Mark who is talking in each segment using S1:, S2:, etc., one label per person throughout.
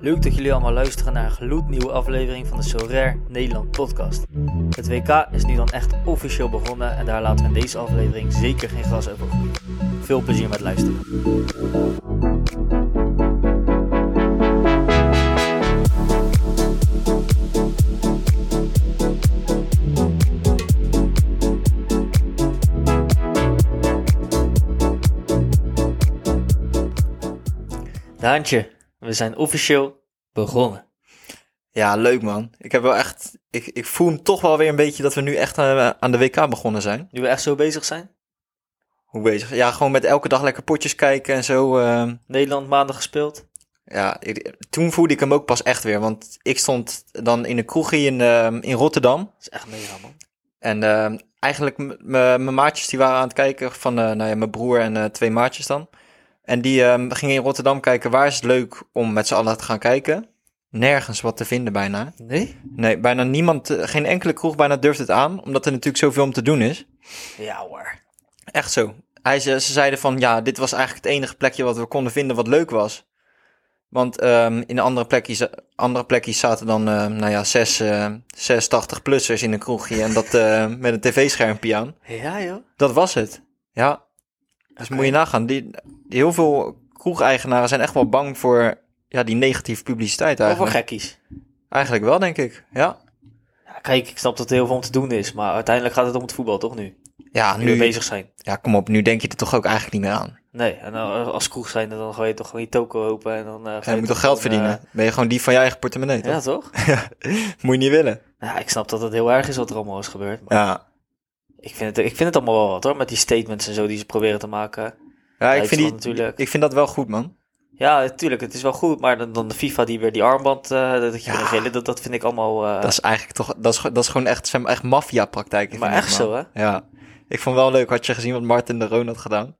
S1: Leuk dat jullie allemaal luisteren naar een gloednieuwe aflevering van de Sorare Nederland podcast. Het WK is nu dan echt officieel begonnen en daar laten we in deze aflevering zeker geen gras over groeien. Veel plezier met luisteren. Daantje, we zijn officieel begonnen.
S2: Ja, leuk man. Ik heb wel echt. Ik, ik voel hem toch wel weer een beetje dat we nu echt eh, aan de WK begonnen zijn.
S1: Nu we echt zo bezig zijn.
S2: Hoe bezig? Ja, gewoon met elke dag lekker potjes kijken en zo. ehm,
S1: Nederland maandag gespeeld.
S2: ja, ik- toen voelde ik hem ook pas echt weer. Want ik stond dan in een kroegje in, ehm, in Rotterdam.
S1: Dat is echt mega man.
S2: En ehm, eigenlijk m- m- mijn maatjes die waren aan het kijken van eh, nou ja, mijn broer en eh, twee maatjes dan. En die ehm, gingen in Rotterdam kijken waar is het leuk om met z'n allen te gaan kijken. Nergens wat te vinden bijna.
S1: Nee?
S2: Nee, bijna niemand, eh, geen enkele kroeg bijna durft het aan, omdat er natuurlijk zoveel om te doen is.
S1: Ja hoor.
S2: Echt zo. Hij, ze, ze zeiden van, ja, dit was eigenlijk het enige plekje wat we konden vinden wat leuk was. Want ehm, in de andere plekjes, andere plekjes zaten dan, ehm, nou ja, zes, eh, zes 80-plussers in een kroegje en dat eh, met een tv-schermpje aan.
S1: Ja joh.
S2: Dat was het. Ja, dus moet je nagaan. Die, heel veel kroegeigenaren zijn echt wel bang voor ja, die negatieve publiciteit
S1: Over
S2: eigenlijk.
S1: gekkies.
S2: Eigenlijk wel, denk ik. Ja,
S1: Ja, kijk, ik snap dat er heel veel om te doen is, maar uiteindelijk gaat het om het voetbal, toch nu?
S2: ja
S1: Nu we
S2: nu,
S1: bezig zijn.
S2: ja, kom op, nu denk je er toch ook eigenlijk niet meer aan.
S1: Nee, en eh, als kroeg zijn, dan ga je toch gewoon je toko open en dan... eh, ga
S2: Ja, je moet
S1: toch
S2: toch geld
S1: gewoon, eh,
S2: verdienen? ben je gewoon dief van je eigen portemonnee, toch?
S1: ja, toch?
S2: Moet je niet willen.
S1: Ja, ik snap dat het heel erg is wat er allemaal is gebeurd. Maar
S2: Ja,
S1: ik, vind het, ik vind het allemaal wel wat hoor, met die statements en zo die ze proberen te maken.
S2: ja ik, vind
S1: Duitsland
S2: die,
S1: natuurlijk.
S2: ik vind dat wel goed, man.
S1: Ja, natuurlijk, het is wel goed, maar dan, dan de FIFA die weer die armband, eh, dat je
S2: Ja.
S1: weer een gele, dat, dat vind ik allemaal... eh,
S2: dat is eigenlijk toch... Dat is, ge- dat is gewoon echt, zijn echt maffiapraktijken.
S1: maar
S2: vind
S1: echt
S2: ik,
S1: zo,
S2: man.
S1: hè?
S2: Ja. Ik vond wel leuk. Had je gezien wat Martin de Roon had gedaan?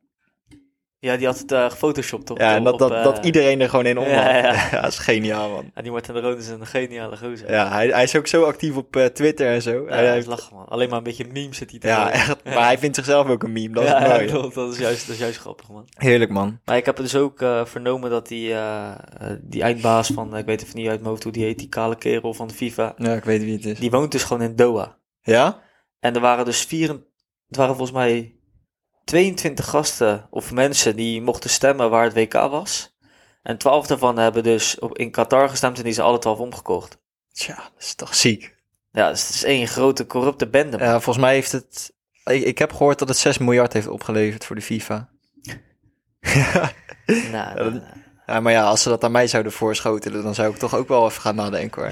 S1: Ja, die had het eh gefotoshopt op...
S2: ja, en dat,
S1: op,
S2: dat,
S1: eh,
S2: dat iedereen er gewoon in om had.
S1: ja,
S2: Ja,
S1: ja.
S2: dat is geniaal, man.
S1: ja, die Martin de Roon is een geniale gozer.
S2: Ja, hij, hij is ook zo actief op eh, Twitter en zo.
S1: Ja,
S2: hij
S1: dat is
S2: heeft-
S1: lachen, man. Alleen maar een beetje memes zit hij te
S2: ja,
S1: gooien.
S2: echt. Maar hij vindt zichzelf ook een meme. Dat
S1: ja,
S2: is mooi.
S1: ja, klopt. dat is juist, dat is juist grappig, man.
S2: Heerlijk, man.
S1: Maar ik heb dus ook eh, vernomen dat die, eh, eh, die eindbaas van, ik weet even niet uit mijn hoofd hoe die heet, die kale kerel van de FIFA,
S2: Ja, ik weet wie het is.
S1: die woont dus gewoon in Doha.
S2: Ja?
S1: En er waren dus vier, het waren volgens mij 22 gasten of mensen die mochten stemmen waar het WK was. En 12 daarvan hebben dus op, in Qatar gestemd en die zijn alle 12 omgekocht.
S2: Tja, dat is toch ziek.
S1: Ja, dus het is één grote corrupte bende. man.
S2: Ja, Eh, volgens mij heeft het. Ik, ik heb gehoord dat het 6 miljard heeft opgeleverd voor de FIFA.
S1: Nou,
S2: dat-
S1: nou, nou.
S2: Ja, maar ja, als ze dat aan mij zouden voorschotelen, dan zou ik toch ook wel even gaan nadenken hoor.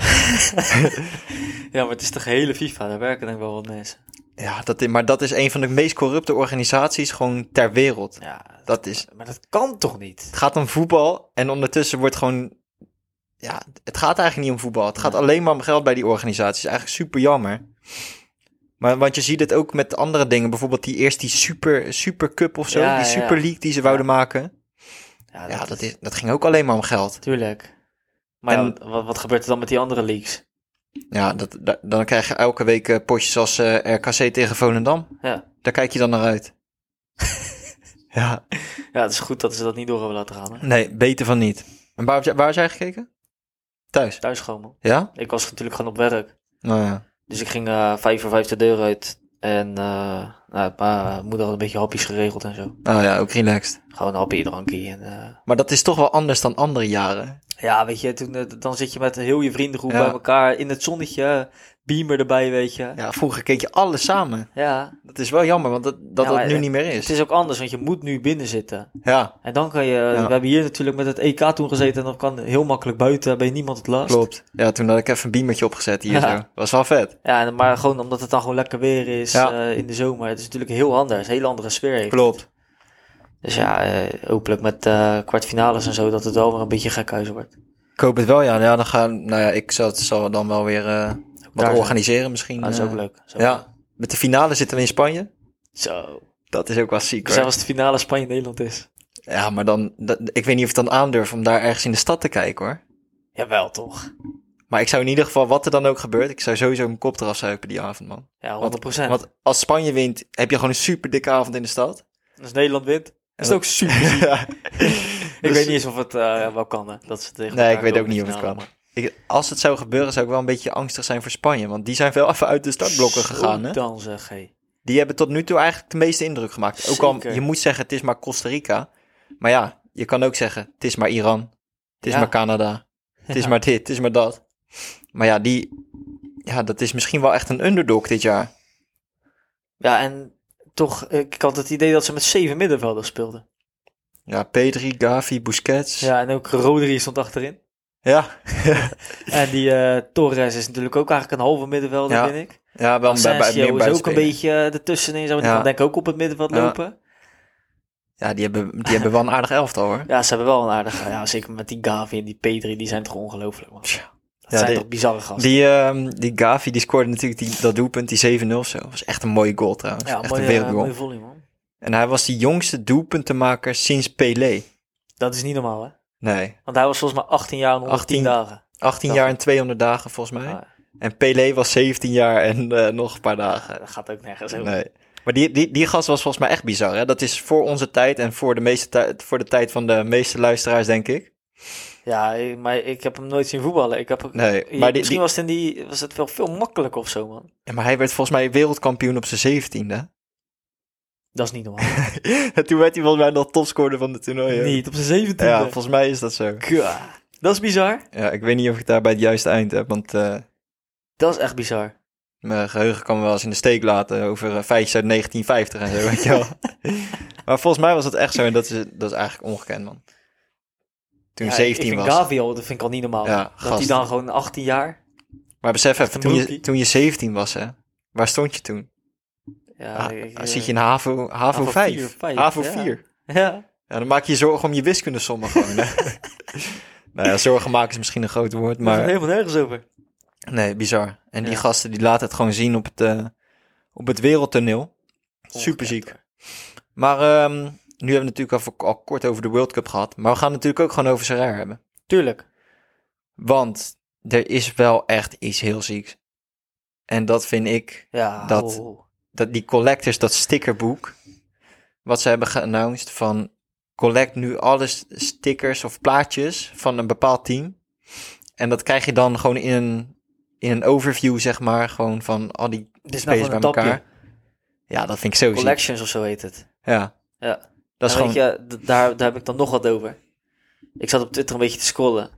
S1: Ja, maar het is de gehele FIFA, daar werken denk ik wel wat mensen.
S2: Ja, dat, i- maar dat is een van de meest corrupte organisaties gewoon ter wereld.
S1: Ja,
S2: Dat is,
S1: maar dat kan toch niet?
S2: het gaat om voetbal en ondertussen wordt gewoon... Ja, het gaat eigenlijk niet om voetbal. Het gaat alleen maar om geld bij die organisaties. Eigenlijk super jammer. Maar, want je ziet het ook met andere dingen. Bijvoorbeeld die eerst die super, super cup of zo.
S1: Ja,
S2: die
S1: ja, ja.
S2: super league die ze wouden maken. Ja, dat, is, dat ging ook alleen maar om geld.
S1: Tuurlijk. Maar ja,
S2: En-
S1: wat- wat, wat gebeurt er dan met die andere leaks?
S2: Ja, dat, da- dan krijg je elke week eh, potjes als eh, RKC tegen Volendam.
S1: Ja.
S2: Daar kijk je dan naar uit. ja,
S1: ja, het is goed dat ze dat niet door hebben laten gaan. Hè?
S2: nee, beter van niet. En waar, heb jij- waar was jij gekeken? Thuis.
S1: Thuis gewoon, man.
S2: Ja?
S1: Ik was natuurlijk gewoon op werk.
S2: Nou ja.
S1: Dus ik ging eh vijf voor vijf de deur uit. En eh nou, mijn moeder had een beetje hapjes geregeld en zo.
S2: Nou ja, ook relaxed.
S1: Gewoon een hapje, drankje. En, eh,
S2: Maar dat is toch wel anders dan andere jaren.
S1: ja, weet je, toen, eh, dan zit je met heel je vriendengroep
S2: Ja.
S1: bij elkaar. In het zonnetje. Beamer erbij, weet je. Ja.
S2: Ja, vroeger keek je alles samen. Dat is wel jammer, want dat dat,
S1: Ja,
S2: dat
S1: maar
S2: nu
S1: het-
S2: niet meer
S1: Het
S2: is.
S1: is ook anders, want je moet nu binnen zitten.
S2: Ja,
S1: En dan kan je... We hebben hier natuurlijk met het EK toen gezeten. En dan kan heel makkelijk buiten. Ben je niemand het last.
S2: klopt. Ja, toen had ik even een beamertje opgezet hier
S1: Ja.
S2: zo. Was wel vet.
S1: Ja, en- maar gewoon omdat het dan gewoon lekker weer is
S2: Ja.
S1: eh, in de zomer. Het is natuurlijk heel anders, een hele andere sfeer heeft.
S2: Klopt.
S1: Dus ja, eh, hopelijk met eh, kwartfinales en zo dat het wel weer een beetje gekhuis wordt.
S2: Ik hoop het wel, ja. Ja, dan gaan... Nou ja, ik zal, zal dan wel weer eh, wat
S1: daar zijn.
S2: organiseren misschien.
S1: Ah, dat is
S2: eh,
S1: ook leuk. Zo.
S2: Ja, met de finale zitten we in Spanje.
S1: Zo.
S2: Dat is ook wel ziek hoor.
S1: Zelfs als de finale Spanje-Nederland is.
S2: Ja, maar dan, dat- ik weet niet of ik dan aandurf om daar ergens in de stad te kijken hoor.
S1: Jawel toch?
S2: Maar ik zou in ieder geval, wat er dan ook gebeurt, ik zou sowieso mijn kop eraf zuipen die avond, man.
S1: Ja, 100%.
S2: Want als Spanje wint,
S1: Dus
S2: heb je gewoon een super dikke avond in de stad.
S1: Als Nederland wint, is het
S2: dat-
S1: ook super.
S2: Ja.
S1: Ik
S2: Dus-
S1: weet niet eens of het eh, wel kan, hè. Dat ze tegen
S2: Nee, ik
S1: elkaar
S2: weet ook
S1: komen
S2: niet of het
S1: finale,
S2: kan. Ik, als het zou gebeuren, zou ik wel een beetje angstig zijn voor Spanje. Want die zijn wel even uit de startblokken
S1: Zo
S2: gegaan. Hè?
S1: Dan zeg hé.
S2: Die hebben tot nu toe eigenlijk de meeste indruk gemaakt. Ook al,
S1: Zeker.
S2: je moet zeggen, het is maar Costa Rica. Maar ja, je kan ook zeggen, het is maar Iran. Het is
S1: Ja.
S2: maar Canada. Het is maar dit, het is maar dat. Maar ja, die, ja, dat is misschien wel echt een underdog dit jaar.
S1: Ja, en toch, ik had het idee dat ze met zeven middenvelders speelden.
S2: Ja, Pedri, Gavi, Busquets. Ja.
S1: Ja, en ook Rodri stond achterin.
S2: Ja,
S1: En die eh, Torres is natuurlijk ook eigenlijk een halve middenvelder,
S2: Ja,
S1: vind ik.
S2: wel bij, bij, meer
S1: Asensio is ook een
S2: buitenspelers.
S1: beetje eh, ertussenin. Zo, die
S2: Ja.
S1: kan denk ik ook op het middenveld
S2: Ja.
S1: lopen.
S2: Ja, die hebben, die hebben wel een aardig elftal hoor.
S1: Ja, ze hebben wel een aardige... Ja, zeker met die Gavi en die Pedri, die zijn toch ongelooflijk, man.
S2: Tja.
S1: Dat
S2: Ja,
S1: zijn
S2: die-
S1: toch bizarre gasten.
S2: Die, ehm, die Gavi die scoorde natuurlijk die, dat doelpunt, die 7-0 of zo. was echt een mooie goal trouwens.
S1: ja,
S2: echt
S1: mooie,
S2: een
S1: eh,
S2: wereldgoal.
S1: mooie volley, man.
S2: En hij was de jongste doelpuntenmaker sinds Pelé.
S1: Dat is niet normaal, hè.
S2: Nee,
S1: Want hij was volgens mij 18 jaar en 110
S2: 18.
S1: dagen.
S2: 18
S1: Dat-
S2: jaar en 200 dagen volgens mij.
S1: Ah,
S2: En Pelé was 17 jaar en eh, nog een paar dagen.
S1: Ah, dat gaat ook nergens over.
S2: Nee. Maar die, die, die gast was volgens mij echt bizar. Hè? Dat is voor onze tijd en voor de, meeste tijd, voor de tijd van de meeste luisteraars, denk ik.
S1: Ja, ik- maar ik heb hem nooit zien voetballen. Ik heb, ook-
S2: Nee,
S1: je-
S2: maar die-
S1: misschien
S2: die-
S1: was het, in die, was het wel veel makkelijker of zo, man.
S2: Ja, Maar hij werd volgens mij wereldkampioen op zijn 17e.
S1: Dat is niet normaal.
S2: en toen werd hij volgens mij nog topscorer van de toernooi. hè?
S1: niet op zijn zeventiende.
S2: Ja, volgens mij is dat zo.
S1: Ja, dat is bizar.
S2: Ja, ik weet niet of ik het daar bij het juiste eind heb, want eh,
S1: Dat is echt bizar.
S2: mijn geheugen kan me wel eens in de steek laten over eh, feitjes uit 1950 en zo, weet je wel. maar volgens mij was dat echt zo en dat is, dat is eigenlijk ongekend, man. Toen
S1: Ja,
S2: 17
S1: ik vind
S2: was.
S1: Gavi al, dat vind ik al niet normaal.
S2: Ja,
S1: dat hij
S2: gast.
S1: dan gewoon 18 jaar...
S2: Maar besef even,
S1: een
S2: toen je,
S1: broekie.
S2: toen je 17 was, hè, waar stond je toen?
S1: Ja,
S2: Ah,
S1: ik- eh,
S2: zit je in HAVO, HAVO
S1: HAVO
S2: 5?
S1: vier, vijf,
S2: HAVO
S1: ja.
S2: 4.
S1: Ja.
S2: Ja, dan maak je je zorgen om je wiskundesommen gewoon, hè. nou ja, zorgen maken is misschien een groot woord,
S1: Maar...
S2: maar...
S1: helemaal nergens over.
S2: Nee, bizar. En die
S1: Ja.
S2: gasten die laten het gewoon zien op het, eh, op het wereldtoneel. Superziek.
S1: Ongekend,
S2: Maar ehm, nu hebben we het natuurlijk al, al kort over de World Cup gehad. Maar we gaan het natuurlijk ook gewoon over Serrair hebben.
S1: Tuurlijk.
S2: Want er is wel echt iets heel zieks. En dat vind ik,
S1: Ja,
S2: Dat-
S1: oh.
S2: dat die collectors, dat stickerboek, wat ze hebben geannounced van collect nu alle st- stickers of plaatjes van een bepaald team. En dat krijg je dan gewoon in een, in een overview, zeg maar, gewoon van al die
S1: Dit is nou
S2: spelers
S1: gewoon een
S2: bij
S1: tapje.
S2: elkaar. Ja, dat vind ik zo ziek.
S1: Collections of zo heet het.
S2: Ja.
S1: Ja.
S2: Dat is
S1: En
S2: gewoon...
S1: weet je, d- daar, daar heb ik dan nog wat over. Ik zat op Twitter een beetje te scrollen.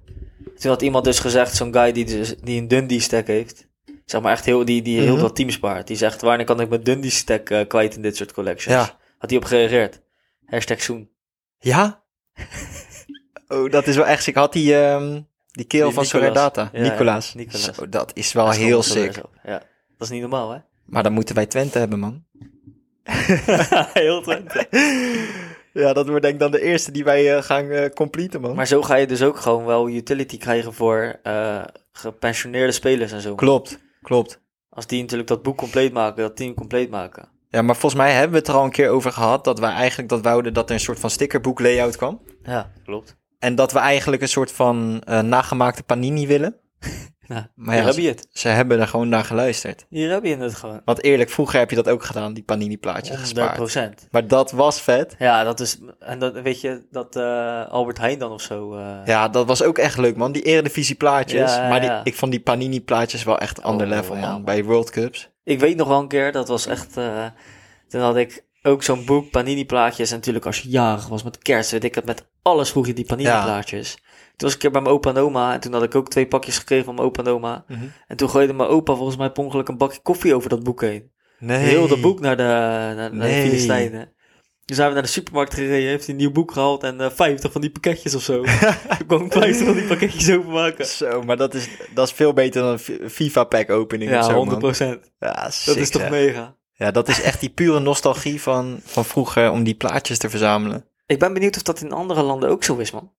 S1: Toen had iemand dus gezegd, zo'n guy die, dus, die een Dundee stack heeft. Zeg maar echt heel, die, die heel
S2: Mhm.
S1: wat teams spaart. Die zegt, wanneer kan ik mijn Dundee stack eh, kwijt in dit soort collections?
S2: Ja.
S1: Had hij op gereageerd. Hashtag Soen.
S2: Ja? oh, dat is wel echt sick. Had die, ehm, die keel
S1: Die
S2: van
S1: Nicolas.
S2: Sorredata,
S1: Ja, ja,
S2: Nicolaas.
S1: Nicolas.
S2: Zo, dat is wel
S1: Dat is
S2: heel
S1: gewoon zo weer
S2: sick.
S1: zo. Ja. Dat is niet normaal, hè?
S2: Maar dan moeten wij Twente hebben, man.
S1: heel Twente.
S2: ja, dat wordt denk ik dan de eerste die wij eh, gaan eh, completen, man.
S1: Maar zo ga je dus ook gewoon wel utility krijgen voor eh, gepensioneerde spelers en zo.
S2: Klopt, klopt.
S1: Als die natuurlijk dat boek compleet maken, dat team compleet maken.
S2: Ja, maar volgens mij hebben we het er al een keer over gehad... dat wij eigenlijk dat wouden dat er een soort van stickerboek layout kwam.
S1: Ja, klopt.
S2: En dat we eigenlijk een soort van eh, nagemaakte panini willen.
S1: Ja.
S2: Maar
S1: Hier
S2: ja,
S1: heb je
S2: ze,
S1: het.
S2: ze hebben er gewoon naar geluisterd.
S1: Hier heb je het gewoon.
S2: Want eerlijk, vroeger heb je dat ook gedaan, die panini plaatjes gespaard.
S1: 100%.
S2: Maar dat was vet.
S1: Ja, dat is. En dat weet je, dat eh, Albert Heijn dan of zo. eh,
S2: Ja, dat was ook echt leuk, man. Die eredivisie plaatjes.
S1: Ja, ja,
S2: maar die,
S1: ja.
S2: ik vond die Panini plaatjes wel echt ander
S1: Oh,
S2: level,
S1: ja,
S2: man.
S1: man.
S2: Bij World Cups.
S1: Ik weet nog wel een keer, dat was echt. eh, toen had ik ook zo'n boek, Panini-plaatjes. En natuurlijk, als je jarig was met kerst, weet ik het, met alles vroeg je die Panini-plaatjes. Toen was ik een keer bij mijn opa en oma. En toen had ik ook twee pakjes gekregen van mijn opa en oma. En toen gooide mijn opa volgens mij per ongeluk een bakje koffie over dat boek heen.
S2: Nee.
S1: Heel dat boek naar de, naar, naar
S2: Nee.
S1: de Filistijnen. Toen zijn we naar de supermarkt gereden, heeft hij een nieuw boek gehaald en eh 50 van die pakketjes of zo. Toen kwam ik 50 van die pakketjes openmaken.
S2: Zo, maar dat is, dat is veel beter dan een Fi- FIFA-pack opening of
S1: Ja,
S2: zo,
S1: 100
S2: man.
S1: procent.
S2: Ja, sick,
S1: Dat is toch
S2: zeg.
S1: mega.
S2: Ja, dat is echt die pure nostalgie van, van vroeger om die plaatjes te verzamelen.
S1: Ik ben benieuwd of dat in andere landen ook zo is, man.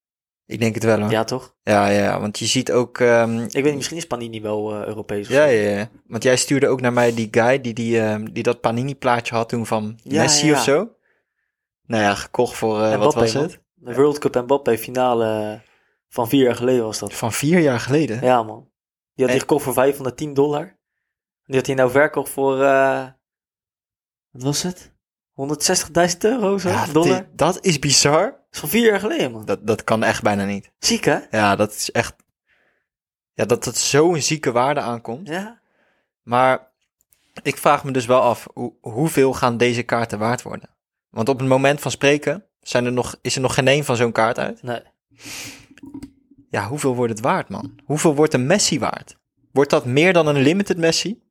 S2: Ik denk het wel, hoor. Ja,
S1: Ja, toch?
S2: ja, ja, want je ziet ook... ehm,
S1: Ik weet niet, misschien is Panini wel eh, Europees of
S2: Ja,
S1: zo.
S2: ja, ja. Want jij stuurde ook naar mij die guy die, die, ehm, die dat Panini-plaatje had toen van
S1: Ja,
S2: Messi
S1: ja,
S2: of
S1: ja.
S2: zo. Nou ja, gekocht voor, eh,
S1: En
S2: wat
S1: Mbappé,
S2: was
S1: man.
S2: het?
S1: De World Cup en Mbappé finale van vier jaar geleden was dat.
S2: Van vier jaar geleden?
S1: Ja, man. Die had
S2: En-
S1: die gekocht voor 510 dollar. Die had hij nou verkocht voor... eh, wat was het? 160.000 euro, zo,
S2: Ja,
S1: dollar.
S2: dit- dat is bizar.
S1: is van vier jaar geleden, man.
S2: Dat, dat kan echt bijna niet.
S1: Ziek, hè?
S2: Ja, dat is echt. Ja, dat dat zo'n zieke waarde aankomt.
S1: Ja.
S2: Maar ik vraag me dus wel af, hoe, hoeveel gaan deze kaarten waard worden? Want op het moment van spreken zijn er nog, is er nog geen één van zo'n kaart uit.
S1: Nee.
S2: Ja, hoeveel wordt het waard, man? Hoeveel wordt een Messi waard? Wordt dat meer dan een limited Messi?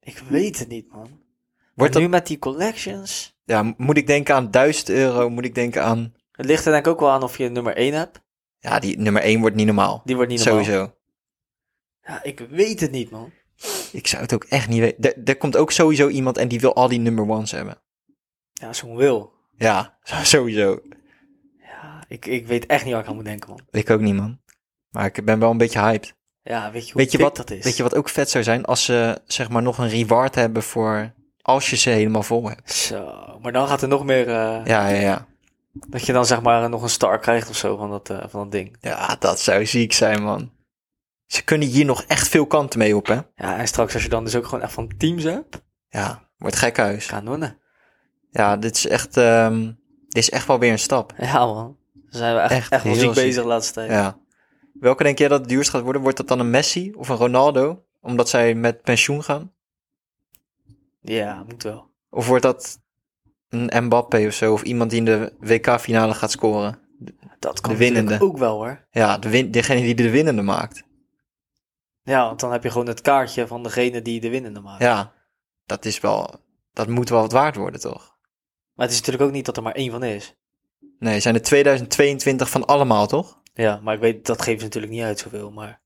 S1: Ik weet het niet, man.
S2: Wordt
S1: Maar
S2: dat,
S1: nu met die collections.
S2: ja, m- moet ik denken aan 1000 euro? Moet ik denken aan...
S1: Het ligt er denk ik ook wel aan of je nummer 1 hebt.
S2: Ja, die nummer 1 wordt niet normaal.
S1: Die wordt niet normaal.
S2: Sowieso.
S1: Ja, ik weet het niet, man.
S2: Ik zou het ook echt niet weten. Er- Er komt ook sowieso iemand en die wil al die number ones hebben.
S1: Ja, zo'n wil.
S2: Ja, sowieso.
S1: Ja, ik, ik weet echt niet waar ik aan moet denken, man.
S2: Ik ook niet, man. Maar ik ben wel een beetje hyped.
S1: Ja, weet je hoe
S2: Weet je,
S1: dik
S2: wat,
S1: dat is?
S2: weet je wat ook vet zou zijn? Als ze zeg maar nog een reward hebben voor als je ze helemaal vol hebt.
S1: Zo, maar dan gaat er nog meer... eh,
S2: Ja, ja, ja.
S1: Dat je dan zeg maar nog een star krijgt of zo van dat, eh, van dat ding.
S2: Ja, dat zou ziek zijn, man. Ze kunnen hier nog echt veel kanten mee op, hè?
S1: Ja, en straks als je dan dus ook gewoon echt van teams hebt.
S2: Ja, wordt gekhuis.
S1: Kanonnen.
S2: Ja, dit is echt, ehm, dit is echt wel weer een stap.
S1: Ja, man. Dan zijn we echt,
S2: Echt
S1: echt, wel
S2: heel
S1: ziek
S2: ziek.
S1: bezig de laatste tijd.
S2: Ja. Welke denk jij dat het duurst gaat worden? Wordt dat dan een Messi of een Ronaldo? Omdat zij met pensioen gaan?
S1: Ja, moet wel.
S2: Of wordt dat een Mbappé of zo? Of iemand die in de WK-finale gaat scoren?
S1: Dat kan
S2: De
S1: natuurlijk
S2: winnende.
S1: ook wel hoor.
S2: Ja, de win degene die de winnende maakt.
S1: Ja, want dan heb je gewoon het kaartje van degene die de winnende maakt.
S2: Ja, dat is wel. Dat moet wel wat waard worden, toch?
S1: Maar het is natuurlijk ook niet dat er maar één van is.
S2: Nee, zijn er 2022 van allemaal, toch?
S1: Ja, maar ik weet, dat geven ze natuurlijk niet uit zoveel. Maar...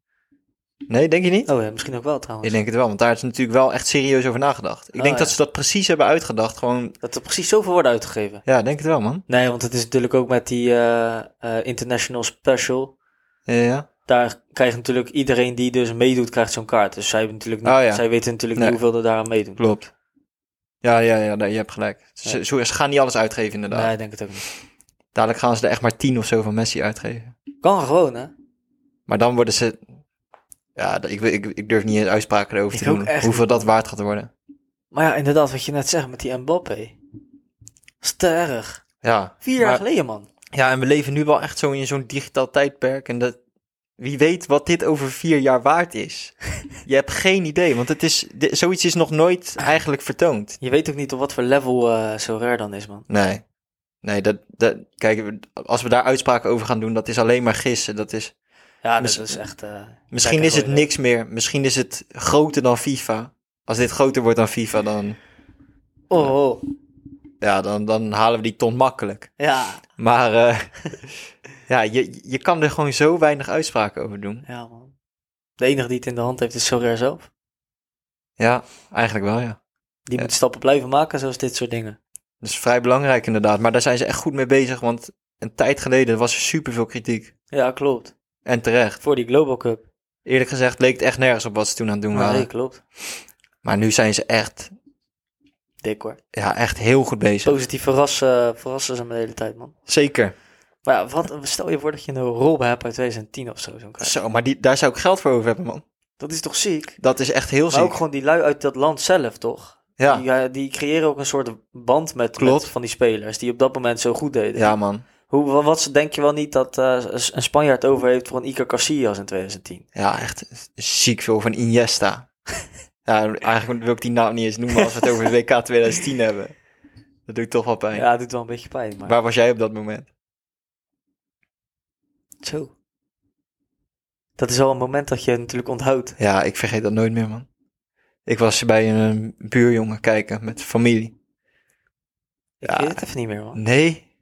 S2: Nee, denk je niet?
S1: Oh ja, misschien ook wel trouwens.
S2: Ik denk het wel, want daar is natuurlijk wel echt serieus over nagedacht. Ik
S1: Oh,
S2: denk dat
S1: ja.
S2: ze dat precies hebben uitgedacht. Gewoon,
S1: Dat er precies zoveel wordt uitgegeven.
S2: ja, denk het wel, man.
S1: Nee, want het is natuurlijk ook met die eh, eh, International Special.
S2: Ja, ja.
S1: Daar krijgt natuurlijk iedereen die dus meedoet, krijgt zo'n kaart. Dus zij, hebben natuurlijk niet-
S2: Oh ja.
S1: zij weten natuurlijk niet
S2: Nee.
S1: hoeveel er daaraan meedoen.
S2: klopt. Ja, ja, ja, nee, je hebt gelijk. Ze, ze- ze gaan niet alles uitgeven, inderdaad.
S1: Nee, ik denk het ook niet.
S2: Dadelijk gaan ze er echt maar 10 of zo van Messi uitgeven.
S1: Kan gewoon, hè?
S2: Maar dan worden ze. Ja, ik, ik, ik durf niet eens uitspraken erover
S1: Ik
S2: te
S1: ook
S2: doen.
S1: echt
S2: Hoeveel
S1: niet,
S2: dat waard gaat worden.
S1: Maar ja, inderdaad, wat je net zegt met die Mbappé. Sterrig.
S2: Ja.
S1: Vier jaar
S2: Maar-
S1: geleden, man.
S2: Ja, en we leven nu wel echt zo in zo'n digitaal tijdperk. En dat, wie weet wat dit over vier jaar waard is. Je hebt geen idee, want het is, di- zoiets is nog nooit eigenlijk vertoond.
S1: Je weet ook niet op wat voor level eh, zo rare dan is, man.
S2: Nee. Nee, dat, dat, kijk, als we daar uitspraken over gaan doen, dat is alleen maar gissen. Dat is,
S1: Ja, dat
S2: Miss-
S1: is echt... eh,
S2: misschien
S1: lekker
S2: is het
S1: gooien.
S2: niks meer. Misschien is het groter dan FIFA. Als dit groter wordt dan FIFA, dan,
S1: Oh, oh.
S2: ja, dan, dan halen we die ton makkelijk.
S1: ja.
S2: Maar eh, ja, je, je kan er gewoon zo weinig uitspraken over doen.
S1: Ja, man. De enige die het in de hand heeft is Sorare zelf.
S2: Ja, eigenlijk wel, ja.
S1: Die
S2: Ja.
S1: moet stappen blijven maken, zoals dit soort dingen.
S2: Dat is vrij belangrijk inderdaad. Maar daar zijn ze echt goed mee bezig. Want een tijd geleden was er superveel kritiek.
S1: Ja, klopt.
S2: En terecht.
S1: Voor die Global Cup.
S2: Eerlijk gezegd leek het echt nergens op wat ze toen aan het doen waren.
S1: Nee, klopt.
S2: Maar nu zijn ze echt,
S1: Dik hoor.
S2: ja, echt heel goed bezig.
S1: Positief verrassen, verrassen ze me de hele tijd, man.
S2: Zeker.
S1: Maar ja, wat, stel je voor dat je een rol hebt uit 2010 of zo, zo'n kaart.
S2: Zo, maar die, daar zou ik geld voor over hebben, man.
S1: Dat is toch ziek?
S2: Dat is echt heel
S1: Maar ook
S2: ziek.
S1: gewoon die lui uit dat land zelf, toch?
S2: Ja.
S1: Die, eh, die creëren ook een soort band met,
S2: Klopt.
S1: met van die spelers die op dat moment zo goed deden.
S2: ja, man.
S1: Hoe, wa- wat ze- denk je wel niet dat eh, een Spanjaard over heeft voor een Iker Casillas in 2010?
S2: Ja, echt ziek veel van Iniesta. ja, eigenlijk wil ik die naam niet eens noemen als we het over het WK 2010 hebben. Dat doet toch wel pijn.
S1: Ja, het doet wel een beetje pijn, maar...
S2: Waar was jij op dat moment?
S1: Zo. Dat is wel een moment dat je natuurlijk onthoudt.
S2: Ja, ik vergeet dat nooit meer, man. Ik was bij een eh, buurjongen kijken met familie.
S1: Ik
S2: Ja.
S1: weet het even niet meer, man.
S2: Nee.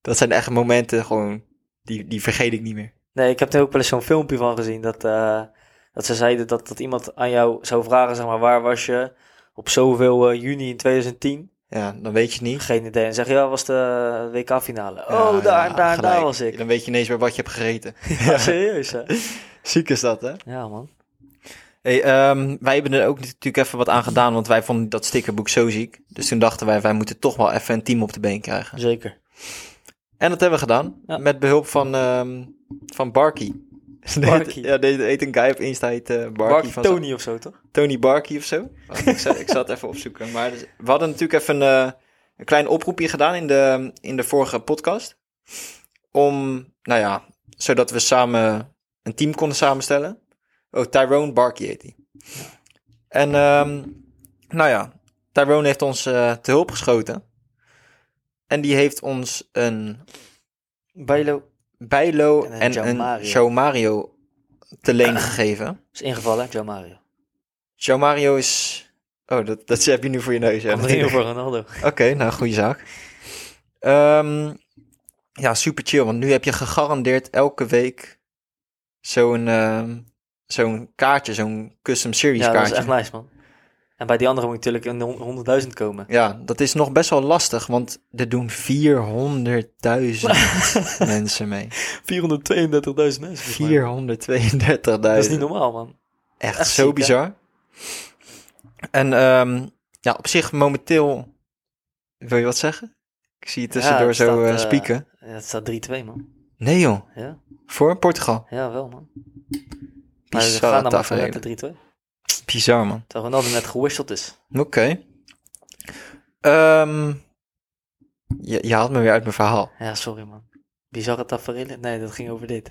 S2: Dat zijn echt momenten gewoon, die, die vergeet ik niet meer.
S1: Nee, ik heb er ook wel eens zo'n filmpje van gezien. Dat, eh, dat ze zeiden dat, dat iemand aan jou zou vragen, zeg maar, waar was je op zoveel eh, juni in 2010?
S2: Ja, dan weet je het niet.
S1: Geen idee. En zeg, ja, was de eh, WK-finale.
S2: Ja,
S1: oh, daar,
S2: ja,
S1: daar, daar
S2: gelijk.
S1: was ik.
S2: Dan weet je ineens weer wat je hebt gegeten.
S1: Ja, serieus, hè?
S2: Ziek is dat, hè?
S1: Ja, man.
S2: Hey, ehm, wij hebben er ook natuurlijk even wat aan gedaan, want wij vonden dat stickerboek zo ziek. Dus toen dachten wij, wij moeten toch wel even een team op de been krijgen.
S1: Zeker.
S2: En dat hebben we gedaan,
S1: Ja.
S2: met behulp van, ehm van Barky. deed,
S1: Barkie.
S2: ja, deed, heet een guy op Insta, heet eh, Barkie,
S1: Barkie
S2: van
S1: Tony of zo, toch?
S2: Tony Barkie of zo. Wacht, Oh, ik, zal, ik zal het even opzoeken. Maar dus- we hadden natuurlijk even een, eh, een klein oproepje gedaan in de, in de vorige podcast. Om, nou ja, zodat we samen een team konden samenstellen. Oh, Tyrone Barkie heet hij. En, ehm, nou ja, Tyrone heeft ons eh, te hulp geschoten. En die heeft ons een
S1: Bijlo
S2: Bijlo
S1: En een
S2: en,
S1: Joe
S2: een
S1: Mario.
S2: Show Mario te leen gegeven.
S1: is ingevallen, hè? Joe Mario.
S2: Show Mario is... Oh, dat, dat heb je nu voor je neus. hè?
S1: Komt erin voor Ronaldo.
S2: Oké, nou, goede zaak. Ehm, ja, super chill. Want nu heb je gegarandeerd elke week zo'n ehm, zo'n kaartje, zo'n Custom Series
S1: Ja, dat is
S2: kaartje.
S1: echt nice, man. En bij die andere moet je natuurlijk in de 100.000 komen.
S2: Ja, dat is nog best wel lastig, want er doen 400.000 mensen mee.
S1: 432.000 mensen. 4.
S2: 432.000.
S1: Dat is niet normaal, man.
S2: Echt,
S1: Echt
S2: zo
S1: ziek, hè?
S2: bizar. En ehm, ja, op zich momenteel... Wil je wat zeggen? Ik zie je tussendoor
S1: het
S2: zo
S1: staat,
S2: eh,
S1: eh,
S2: spieken.
S1: Ja, het staat 3-2, man.
S2: Nee joh,
S1: Ja,
S2: voor Portugal.
S1: ja wel, man. Maar ze
S2: Bizarre
S1: gaan dan maar voor
S2: tafereel.
S1: met de 3-2.
S2: Bizar, man.
S1: Terwijl Ronaldo net gewisseld is.
S2: Oké. Ehm, je, je haalt me weer uit mijn verhaal.
S1: Ja, sorry, man. Bizarre tafereel. Nee, dat ging over dit.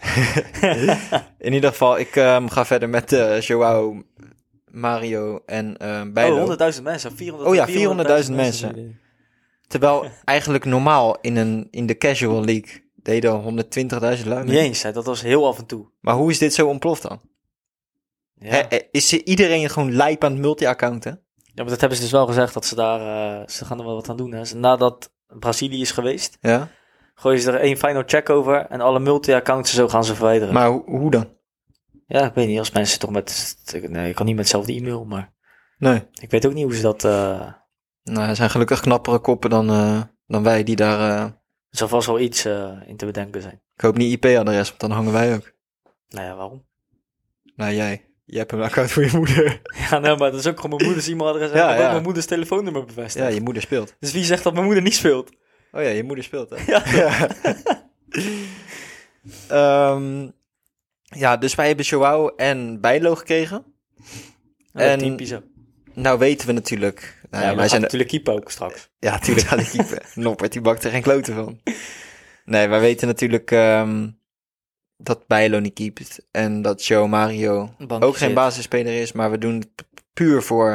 S2: In ieder geval, ik ehm, ga verder met eh Joao, Mario en ehm Bijlo.
S1: Oh, 100.000 mensen. 400,
S2: Oh ja, 400.000 mensen. Terwijl eigenlijk normaal in, een, in de casual league deden 120.000 lui mee.
S1: Niet eens, hè. dat was heel af en toe.
S2: Maar hoe is dit zo ontploft dan?
S1: Ja.
S2: Hè, eh, is ze- iedereen gewoon lijp aan het multi-accounten?
S1: Ja, maar dat hebben ze dus wel gezegd dat ze daar. eh, ze gaan er wel wat aan doen. Hè. Ze- Nadat Brazilië is geweest,
S2: Ja.
S1: gooien ze er één final check over. En alle multi-accounts en zo gaan ze verwijderen.
S2: Maar ho- hoe dan?
S1: Ja, ik weet niet. Als mensen toch met. Nee, ik kan niet met hetzelfde e-mail. Maar
S2: Nee.
S1: ik weet ook niet hoe ze dat. eh,
S2: Nou, er zijn gelukkig knappere koppen dan, eh, dan wij die daar... eh,
S1: er zal vast wel iets eh, in te bedenken zijn.
S2: ik hoop niet IP-adres, want dan hangen wij ook.
S1: Nou ja, waarom?
S2: Nou, jij. Je hebt een account voor je moeder.
S1: Ja, nee, maar dat is ook gewoon mijn moeders e-mailadres. en
S2: Ja,
S1: ik heb ook
S2: ja.
S1: mijn moeders telefoonnummer bevestigd.
S2: Ja, je moeder speelt.
S1: Dus wie zegt dat mijn moeder niet speelt?
S2: Oh ja, je moeder speelt, hè?
S1: Ja.
S2: Ja. Ehm, ja, dus wij hebben Joao en Bijlo gekregen. En-
S1: en typisch ook.
S2: Nou weten we natuurlijk... Nou, ja,
S1: ja,
S2: wij zijn,
S1: natuurlijk keeper ook straks.
S2: ja, tuurlijk gaat ik keeper. Noppert, die bakt er geen kloten van. Nee, wij weten natuurlijk ehm, dat Bijlo niet keept. En dat Joao Mario
S1: Bankje
S2: ook geen
S1: zit.
S2: basisspeler is. Maar we doen het pu- puur voor...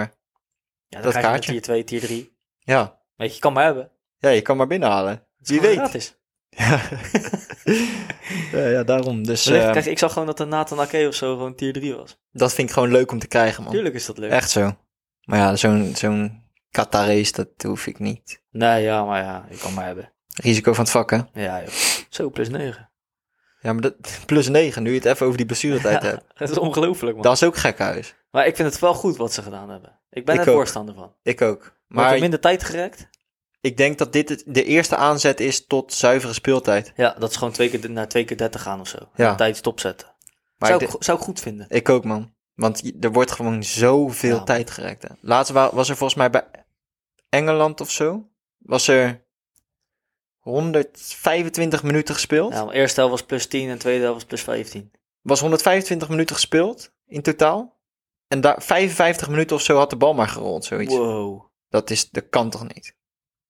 S1: Ja,
S2: dat
S1: dan krijg je
S2: kaartje.
S1: tier 2, tier 3.
S2: Ja,
S1: Weet je, je kan maar hebben.
S2: ja je kan maar binnenhalen.
S1: Het is
S2: Wie
S1: gewoon
S2: weet.
S1: gratis.
S2: Ja. ja, ja, daarom. Dus
S1: Wellicht,
S2: eh,
S1: kijk, ik zag gewoon dat de Nathan Ake of zo gewoon tier 3 was.
S2: dat vind ik gewoon leuk om te krijgen, man.
S1: Tuurlijk is dat leuk.
S2: Echt zo. Maar ja, zo'n zo'n Qatarese, dat hoef ik niet.
S1: Nee, ja, maar ja, ik kan maar hebben.
S2: Risico van het vak, hè?
S1: Ja, joh. Zo, plus 9.
S2: Ja, maar dat, plus 9, nu je het even over die blessuretijd hebt.
S1: Dat is ongelooflijk, man.
S2: Dat is ook gekhuis.
S1: Maar ik vind het wel goed wat ze gedaan hebben. Ik ben
S2: Ik
S1: er
S2: ook.
S1: voorstander van.
S2: Ik ook.
S1: Maar
S2: Maar
S1: minder tijd gerekt?
S2: ik denk dat dit het- de eerste aanzet is tot zuivere speeltijd.
S1: Ja, dat is gewoon twee keer, de- naar twee keer 30 gaan of zo.
S2: Ja.
S1: En Tijd stopzetten.
S2: Ah. Maar
S1: zou,
S2: ik
S1: ik, go- zou ik goed vinden.
S2: Ik ook, man. Want je- er wordt gewoon zoveel
S1: Ja.
S2: tijd gerekt. Hè. Laatst wa- was er volgens mij bij Engeland of zo. Was er 125 minuten gespeeld.
S1: Ja, maar eerste helft was plus 10 en tweede helft was plus 15.
S2: Was 125 minuten gespeeld in totaal. En daar 55 minuten of zo had de bal maar gerold, zoiets.
S1: Wow.
S2: Dat, is, dat kan toch niet?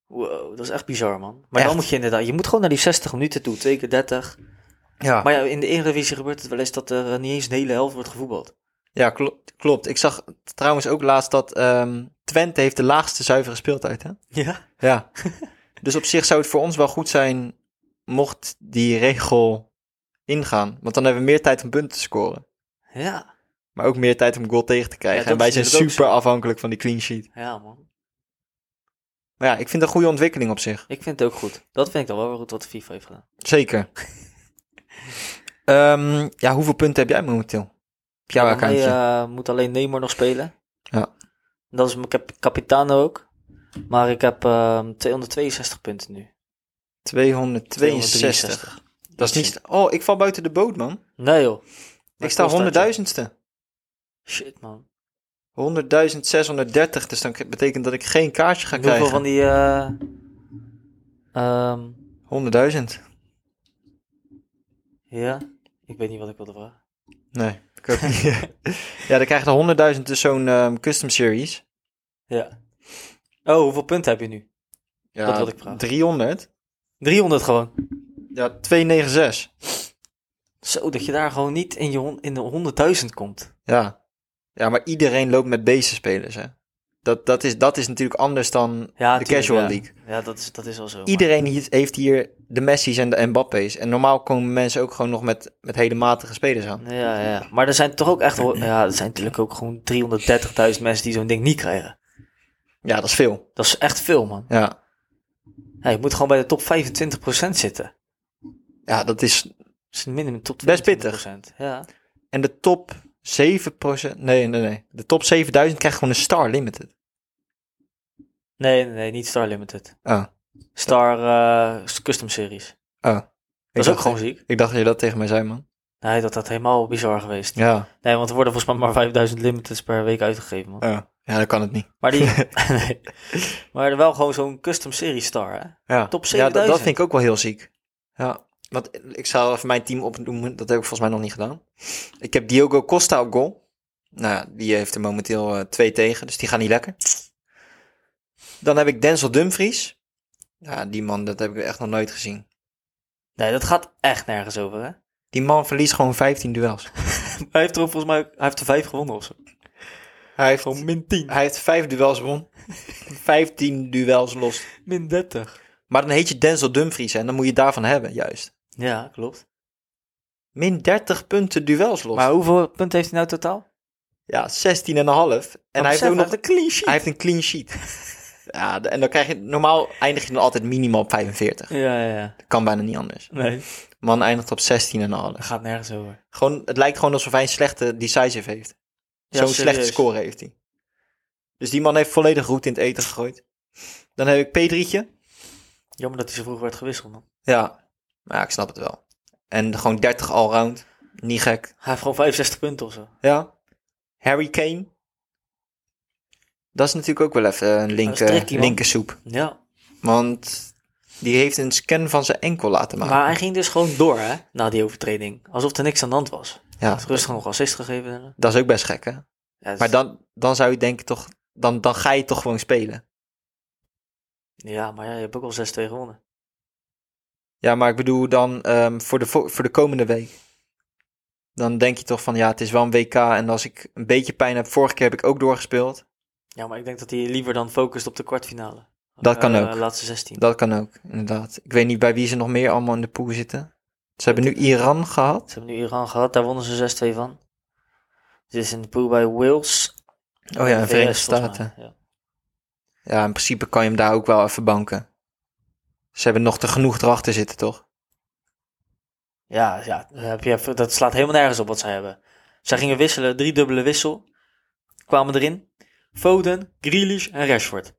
S1: Wow, dat is echt bizar, man. Maar
S2: Echt.
S1: dan moet je inderdaad... Je moet gewoon naar die 60 minuten toe. Twee keer 30.
S2: Ja,
S1: Maar ja, in de Eredivisie gebeurt het wel eens dat er eh, niet eens de hele helft wordt gevoetbald.
S2: ja klopt, klopt. Ik zag trouwens ook laatst dat ehm, Twente heeft de laagste zuivere speeltijd, hè?
S1: Ja?
S2: Ja. dus op zich zou het voor ons wel goed zijn mocht die regel ingaan. Want dan hebben we meer tijd om punten te scoren.
S1: Ja.
S2: Maar ook meer tijd om goal tegen te krijgen.
S1: Ja, dat
S2: en wij
S1: is
S2: zijn
S1: inderdaad ook
S2: super afhankelijk van die clean sheet.
S1: Ja, man.
S2: Maar ja, ik vind dat een goede ontwikkeling op zich.
S1: Ik vind het ook goed. Dat vind ik dan wel weer goed wat de FIFA heeft gedaan.
S2: Zeker. Ehm, ja, hoeveel punten heb jij momenteel? Op jouw
S1: Bij mij
S2: accountje?
S1: eh, moet alleen Neymar nog spelen.
S2: Ja.
S1: Dat is mijn cap capitano ook. Maar ik heb ehm, 262 punten nu.
S2: 262. Dat is niet... Oh, ik val buiten de boot, man.
S1: Dus Nee joh.
S2: Ik sta
S1: honderdduizend.
S2: 100.000ste.
S1: Shit man.
S2: 100.630. Dus dan k- betekent dat ik geen kaartje ga
S1: Hoeveel van
S2: krijgen.
S1: die... eh, ehm,
S2: 100.000.
S1: ja. Ik weet niet wat ik wilde vragen.
S2: Nee, ik ook niet. ja, dan krijg je 100.000 dus zo'n ehm, custom series.
S1: Ja. Oh, hoeveel punten heb je nu?
S2: Ja,
S1: Dat wilde ik vragen.
S2: 300?
S1: 300 gewoon.
S2: Ja, 296.
S1: Zo, dat je daar gewoon niet in, je hon- in de 100.000 komt.
S2: Ja. Ja, maar iedereen loopt met deze spelers, hè. Dat, dat, is, dat is natuurlijk anders dan
S1: Ja,
S2: de
S1: tuurlijk,
S2: casual
S1: ja.
S2: league.
S1: Ja, dat is, dat is wel zo. maar-
S2: Iedereen hier- heeft hier de Messi's en de Mbappé's. En normaal komen mensen ook gewoon nog met, met hele matige spelers aan.
S1: Ja, ja. Maar er zijn toch ook echt wel... Ja, er zijn natuurlijk ook gewoon 330.000 mensen die zo'n ding niet krijgen.
S2: Ja, dat is veel.
S1: Dat is echt veel, man.
S2: Ja,
S1: Ja, je moet gewoon bij de top 25% zitten. Dus
S2: ja dat is...
S1: Misschien minimum top 25%.
S2: Best pittig.
S1: Ja.
S2: En de top 7%... Nee, nee, nee. De top 7000 krijgt gewoon een Star Limited.
S1: Nee, nee, nee, niet Star Limited.
S2: Ah,
S1: Star eh, Custom Series.
S2: ah. Ik
S1: Dat is ook
S2: dacht-
S1: gewoon ziek.
S2: Ik dacht dat je dat tegen mij zei, man.
S1: Nee, dat had helemaal bizar geweest.
S2: Ja,
S1: Nee, want er worden volgens mij maar 5000 limiteds per week uitgegeven, man.
S2: ja. Ja, dat kan het niet.
S1: Maar die... nee. Maar wel gewoon zo'n custom series star, hè?
S2: Ja,
S1: Top
S2: ja dat,
S1: 7000.
S2: dat vind ik ook wel heel ziek. Ja, want ik zou even mijn team opnoemen. Dat heb ik volgens mij nog niet gedaan. Ik heb Diogo Costa op goal. Nou, ja, die heeft er momenteel eh, twee tegen, dus die gaan niet lekker. Dan heb ik Denzel Dumfries. Ja, die man, dat heb ik echt nog nooit gezien.
S1: Nee, dat gaat echt nergens over, hè?
S2: Die man verliest gewoon 15 duels.
S1: Hij heeft er ook volgens mij... Hij heeft er vijf gewonnen of zo.
S2: Hij heeft,
S1: Gewoon min 10,
S2: hij heeft vijf duels won. 15 duels los.
S1: min 30.
S2: Maar dan heet je Denzel Dumfries hè, en dan moet je daarvan hebben, juist.
S1: Ja, klopt.
S2: Min 30 punten duels los.
S1: Maar hoeveel punten heeft hij nou totaal?
S2: Ja, 16,5. En hij heeft ook nog
S1: een clean
S2: Hij
S1: sheet.
S2: heeft een clean sheet. ja, de- en dan krijg je, normaal eindig je dan altijd minimaal op 45.
S1: Ja, ja, ja.
S2: Dat kan bijna niet anders.
S1: Nee,
S2: Man eindigt op 16,5.
S1: dat gaat nergens over.
S2: Gewoon, het lijkt gewoon alsof hij een slechte decisive heeft.
S1: Ja,
S2: Zo'n
S1: serieus.
S2: slechte score heeft hij. Dus die man heeft volledig roet in het eten gegooid. Dan heb ik Pedrietje.
S1: Jammer dat hij zo vroeg werd gewisseld, man.
S2: Ja, maar ja, ik snap het wel. En gewoon 30 allround. Niet gek.
S1: Hij heeft gewoon 65 punten of zo.
S2: Ja. Harry Kane. Dat is natuurlijk ook wel even een linker,
S1: tricky, man.
S2: linkersoep.
S1: Ja,
S2: Want die heeft een scan van zijn enkel laten maken.
S1: Maar hij ging dus gewoon door, hè? Na die overtreding. Alsof er niks aan de hand was. Hij
S2: ja,
S1: heeft rustig nog assist gegeven.
S2: dat is ook best gek, hè?
S1: Ja, dus-
S2: Maar dan, dan zou je denken toch... Dan, dan ga je toch gewoon spelen.
S1: ja, maar ja, je hebt ook al 6-2 gewonnen.
S2: Ja, maar ik bedoel dan ehm, voor, de, vo- voor de komende week. Dan denk je toch van, ja, het is wel een WK. En als ik een beetje pijn heb... Vorige keer heb ik ook doorgespeeld.
S1: Ja, maar ik denk dat hij liever dan focust op de kwartfinale.
S2: Dat kan
S1: Eh,
S2: ook.
S1: laatste 16.
S2: Dat kan ook, inderdaad. Ik weet niet bij wie ze nog meer allemaal in de pool zitten. Ze hebben nu Iran gehad.
S1: Ze hebben nu Iran gehad, daar wonnen ze 6-2 van. Dit is in de pool bij Wales.
S2: Oh ja, en
S1: VS,
S2: Verenigde
S1: volgens mij,
S2: Staten.
S1: ja.
S2: Ja, in principe kan je hem daar ook wel even banken. Ze hebben nog te genoeg erachter zitten, toch?
S1: Ja, ja dat heb je- dat slaat helemaal nergens op wat zij hebben. Zij gingen wisselen, drie dubbele wissel. Kwamen erin. Foden, Grealish en Rashford.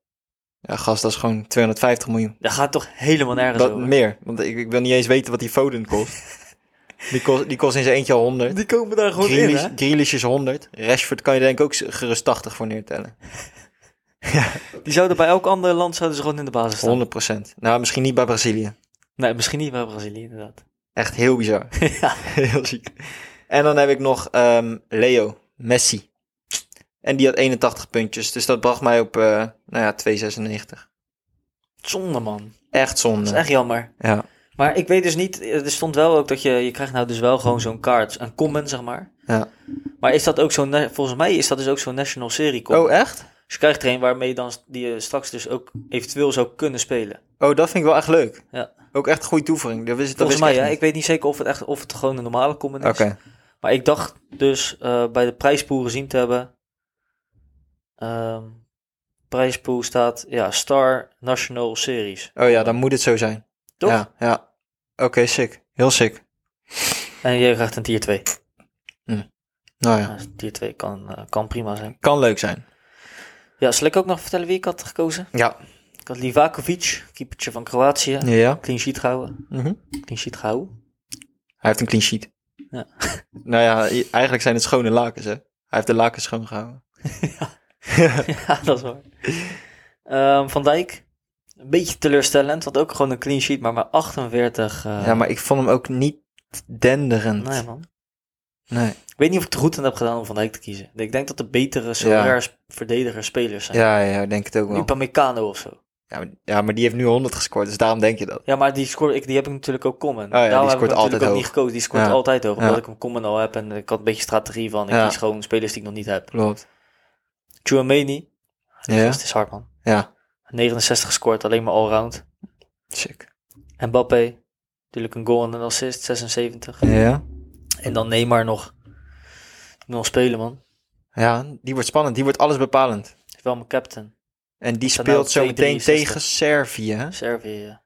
S2: Ja, gast, dat is gewoon 250 miljoen.
S1: Dat gaat toch helemaal nergens
S2: Dat,
S1: over.
S2: meer, want ik, ik wil niet eens weten wat die Foden kost. die, kost die kost in zijn eentje al 100.
S1: Die komen daar gewoon in,
S2: Grealish,
S1: hè?
S2: Grealish is 100. Rashford kan je denk ik ook z- gerust 80 voor neertellen.
S1: Die zouden bij elk ander land zouden ze gewoon in de basis staan.
S2: 100%. Nou, misschien niet bij Brazilië.
S1: Nee, misschien niet bij Brazilië, inderdaad.
S2: Echt heel bizar.
S1: ja.
S2: heel ziek. En dan heb ik nog ehm, Leo, Messi. En die had 81 puntjes, dus dat bracht mij op eh, nou ja, 296.
S1: Zonde, man.
S2: Echt zonde.
S1: Dat is echt jammer.
S2: Ja,
S1: Maar ik weet dus niet, eh, er stond wel ook dat je, je krijgt nou dus wel gewoon zo'n kaart, een comment, zeg maar.
S2: ja.
S1: Maar is dat ook zo'n, na- volgens mij is dat dus ook zo'n national serie comment.
S2: Oh, echt?
S1: Dus je krijgt er een waarmee je dan s- die je straks dus ook eventueel zou kunnen spelen.
S2: Oh, dat vind ik wel echt leuk.
S1: Ja.
S2: Ook echt een goede toevoeging. Dat wist, dat
S1: Volgens
S2: wist
S1: mij,
S2: ik
S1: ja.
S2: echt
S1: Ik weet niet zeker of het echt, of het gewoon een normale comment is.
S2: niet. Oké.
S1: Maar ik dacht dus eh, bij de prijspool gezien te hebben. Ehm prijspool staat, ja, Star National Series.
S2: Oh ja, dan moet het zo zijn.
S1: Toch?
S2: Ja, ja. Oké, sick. Heel sick.
S1: En je krijgt een tier 2.
S2: Nou ja,
S1: Ja, tier 2 kan, eh, kan prima zijn.
S2: kan leuk zijn.
S1: Ja, zal ik ook nog vertellen wie ik had gekozen?
S2: Ja.
S1: Ik had Livakovic, keepertje van Kroatië.
S2: Ja. ja.
S1: Clean sheet gehouden.
S2: Mhm.
S1: Clean sheet gehouden.
S2: Hij heeft een clean sheet.
S1: Ja.
S2: nou ja, i- eigenlijk zijn het schone lakens, hè. Hij heeft de lakens schoon gehouden.
S1: ja, dat is waar. Ehm, van Dijk. Een beetje teleurstellend, want ook gewoon een clean sheet, maar maar 48. eh,
S2: ja, maar ik vond hem ook niet denderend.
S1: Nee, man.
S2: Nee.
S1: Ik weet niet of ik het goed aan heb gedaan om Van Dijk te kiezen. Ik denk dat de betere solairs verdediger spelers zijn.
S2: Ja, ja, ik denk het ook wel.
S1: Upamecano of zo.
S2: Ja maar, ja, maar die heeft nu 100 gescoord, dus daarom denk je dat.
S1: Ja, maar die, score, ik, die heb ik natuurlijk ook common.
S2: Oh ja, die
S1: Daarom heb ik
S2: scoort
S1: hem natuurlijk
S2: altijd
S1: ook
S2: hoog.
S1: niet gekozen. Die scoort
S2: Ja.
S1: altijd hoog, omdat
S2: Ja.
S1: ik hem common al heb. En ik had een beetje strategie van, ik
S2: Ja.
S1: kies gewoon spelers die ik nog niet heb.
S2: Klopt.
S1: Chouameni,
S2: Ja?
S1: dat is hard man.
S2: Ja.
S1: 69 gescoord, alleen maar allround.
S2: Sick.
S1: Mbappé, natuurlijk een goal en een assist, 76.
S2: Ja?
S1: En dan Neymar nog. Die moet nog spelen man.
S2: Ja, die wordt spannend. Die wordt alles bepalend.
S1: Hij is wel mijn captain.
S2: En die
S1: Staat
S2: speelt
S1: nou
S2: zo meteen
S1: 2-63.
S2: tegen Servië. hè?
S1: Servië, ja.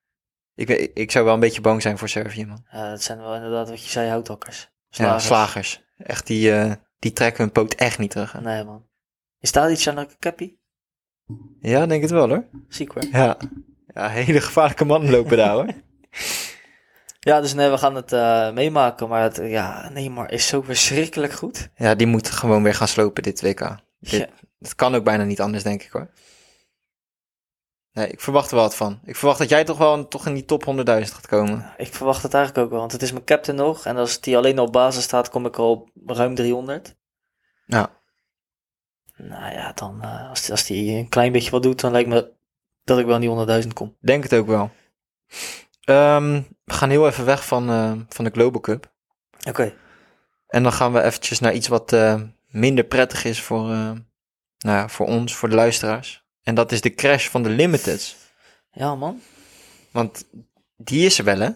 S2: Ik, weet- ik zou wel een beetje bang zijn voor Servië, man.
S1: Ja, dat zijn wel inderdaad wat je zei, houthakkers.
S2: Ja,
S1: Slagers.
S2: slagers. Echt, die, eh, die trekken hun poot echt niet terug. hè.
S1: Nee man. Is daar iets aan een cappie?
S2: Ja, denk het wel hoor.
S1: Ziek hoor.
S2: Ja. Ja, hele gevaarlijke mannen lopen daar hoor.
S1: Ja, dus nee, we gaan het eh, meemaken. Maar het, ja, Neymar is zo verschrikkelijk goed.
S2: Ja, die moet gewoon weer gaan slopen dit WK. Dit,
S1: Ja.
S2: Dat kan ook bijna niet anders, denk ik hoor. Nee, ik verwacht er wel wat van. Ik verwacht dat jij toch wel toch in die top 100.000 gaat komen.
S1: Ik verwacht het eigenlijk ook wel, want het is mijn captain nog. En als die alleen op basis staat, kom ik al op ruim 300.
S2: Ja.
S1: Nou ja, dan eh, als, die, als die een klein beetje wat doet, dan lijkt me dat ik wel aan die 100.000 kom.
S2: Denk het ook wel. Ehm, we gaan heel even weg van, eh, van de Global Cup.
S1: Oké.
S2: En dan gaan we eventjes naar iets wat eh, minder prettig is voor, eh, nou ja, voor ons, voor de luisteraars. En dat is de crash van de Limiteds.
S1: Ja, man.
S2: Want die is er wel, hè?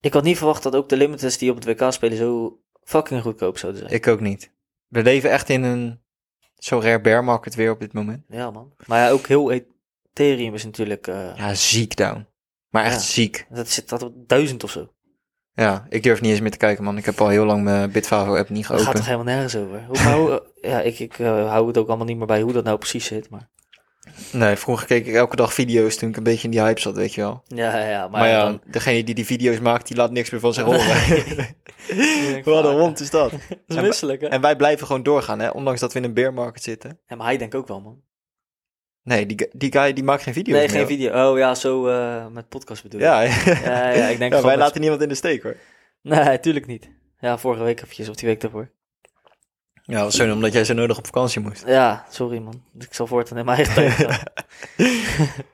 S1: Ik had niet verwacht dat ook de limiters die op het WK spelen zo fucking goedkoop zouden zijn.
S2: Ik ook niet. We leven echt in een zo rare bear market weer op dit moment.
S1: Ja, man. Maar ja, ook heel Ethereum is natuurlijk... eh,
S2: Ja, ziek down. Maar echt
S1: Ja.
S2: ziek.
S1: Dat zit dat op 1000 of zo.
S2: Ja, ik durf niet eens meer te kijken, man. Ik heb al heel lang mijn Bitfavo-app niet
S1: Dat gaat
S2: geopend.
S1: toch helemaal nergens over? Hoe, hoe, ja, ik, ik eh, hou het ook allemaal niet meer bij hoe dat nou precies zit, maar...
S2: Nee, vroeger keek ik elke dag video's toen ik een beetje in die hype zat, weet je wel.
S1: Ja, ja, ja, maar,
S2: Maar, ja,
S1: dan...
S2: degene die die video's maakt, die laat niks meer van zich horen. Wat een hond is dat.
S1: Dat is misselijk, hè?
S2: En wij blijven gewoon doorgaan, hè. Ondanks dat we in een bear market zitten.
S1: Ja, maar hij denkt ook wel, man.
S2: Nee, die, gu- die guy die maakt geen video's
S1: Nee,
S2: meer,
S1: geen
S2: hoor.
S1: video. Oh ja, zo eh, met podcast bedoel je.
S2: Ja, ja,
S1: Ja, ja, ik denk gewoon
S2: wij
S1: dat-
S2: laten niemand in de steek, hoor.
S1: Nee, tuurlijk niet. Ja, vorige week eventjes, of die week daarvoor.
S2: Ja, was zo omdat jij zo nodig op vakantie moest.
S1: Ja, sorry man. Ik zal voortaan in mijn eigen tijd gaan.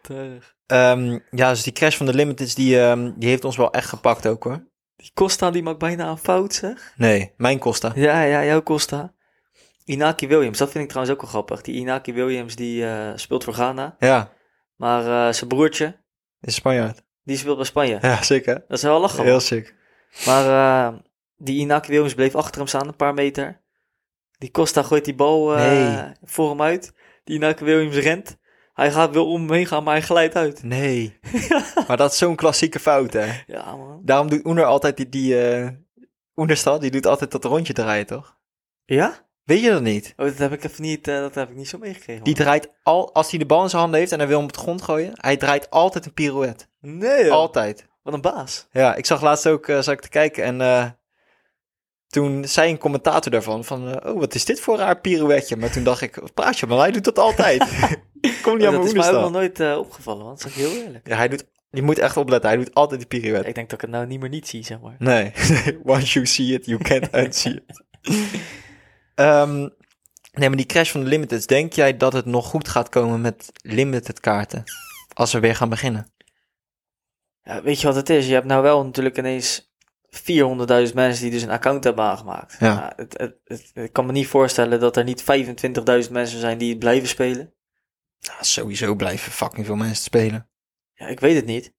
S1: Terug.
S2: Ehm, ja, dus die crash van de Limiteds, die, ehm, die heeft ons wel echt gepakt ook, hoor.
S1: Die Costa, die maakt bijna een fout, zeg.
S2: Nee, mijn Costa.
S1: Ja, ja, jouw Costa. Inaki Williams, dat vind ik trouwens ook wel grappig. Die Inaki Williams, die eh, speelt voor Ghana.
S2: Ja,
S1: Maar eh, zijn broertje,
S2: is Spanjaard.
S1: die speelt bij Spanje.
S2: Ja, sick, hè?
S1: Dat is wel lachen. man.
S2: Heel sick.
S1: Maar eh, die Inaki Williams bleef achter hem staan, een paar meter. Die Costa gooit die bal eh,
S2: Nee.
S1: voor hem uit. Die Inaki Williams rent. Hij gaat wel om hem heen gaan, maar hij glijdt uit.
S2: Nee. maar dat is zo'n klassieke fout, hè?
S1: Ja, man.
S2: Daarom doet Oener altijd die... die eh, Oenerstal, die doet altijd dat rondje draaien, toch?
S1: Ja?
S2: Weet je dat niet?
S1: Oh, dat heb ik even niet, eh, dat heb ik niet zo meegekregen.
S2: Die draait al... Als hij de bal in zijn handen heeft en hij wil hem op de grond gooien... Hij draait altijd een pirouette.
S1: man. Nee, joh.
S2: Altijd.
S1: wat een baas. Oh,
S2: Ja, ik zag laatst ook... eh zag ik te kijken en... eh, toen zei een commentator daarvan van... eh, oh, wat is dit voor een raar pirouetje? Maar toen dacht ik... wat Praat je, maar hij doet dat altijd. Kom niet
S1: Oh,
S2: aan
S1: dat is mij
S2: mijn
S1: ook
S2: Oenerstal.
S1: nog nooit eh, opgevallen, want dat is heel eerlijk.
S2: Ja, hij doet... Je moet echt opletten. Hij doet altijd die pirouette.
S1: Ik denk dat ik het nou niet meer niet zie, zeg maar.
S2: Nee, once you see it, you can't unsee it. Ehm, nee, maar die crash van de limiteds, denk jij dat het nog goed gaat komen met limited kaarten? Als we weer gaan beginnen.
S1: Ja, weet je wat het is? Je hebt nou wel natuurlijk ineens 400.000 mensen die dus een account hebben aangemaakt.
S2: Ja.
S1: Nou, het, het, het- ik kan me niet voorstellen dat er niet 25.000 mensen zijn die het blijven spelen.
S2: Nou, sowieso blijven fucking veel mensen spelen.
S1: Ja, ik weet het niet.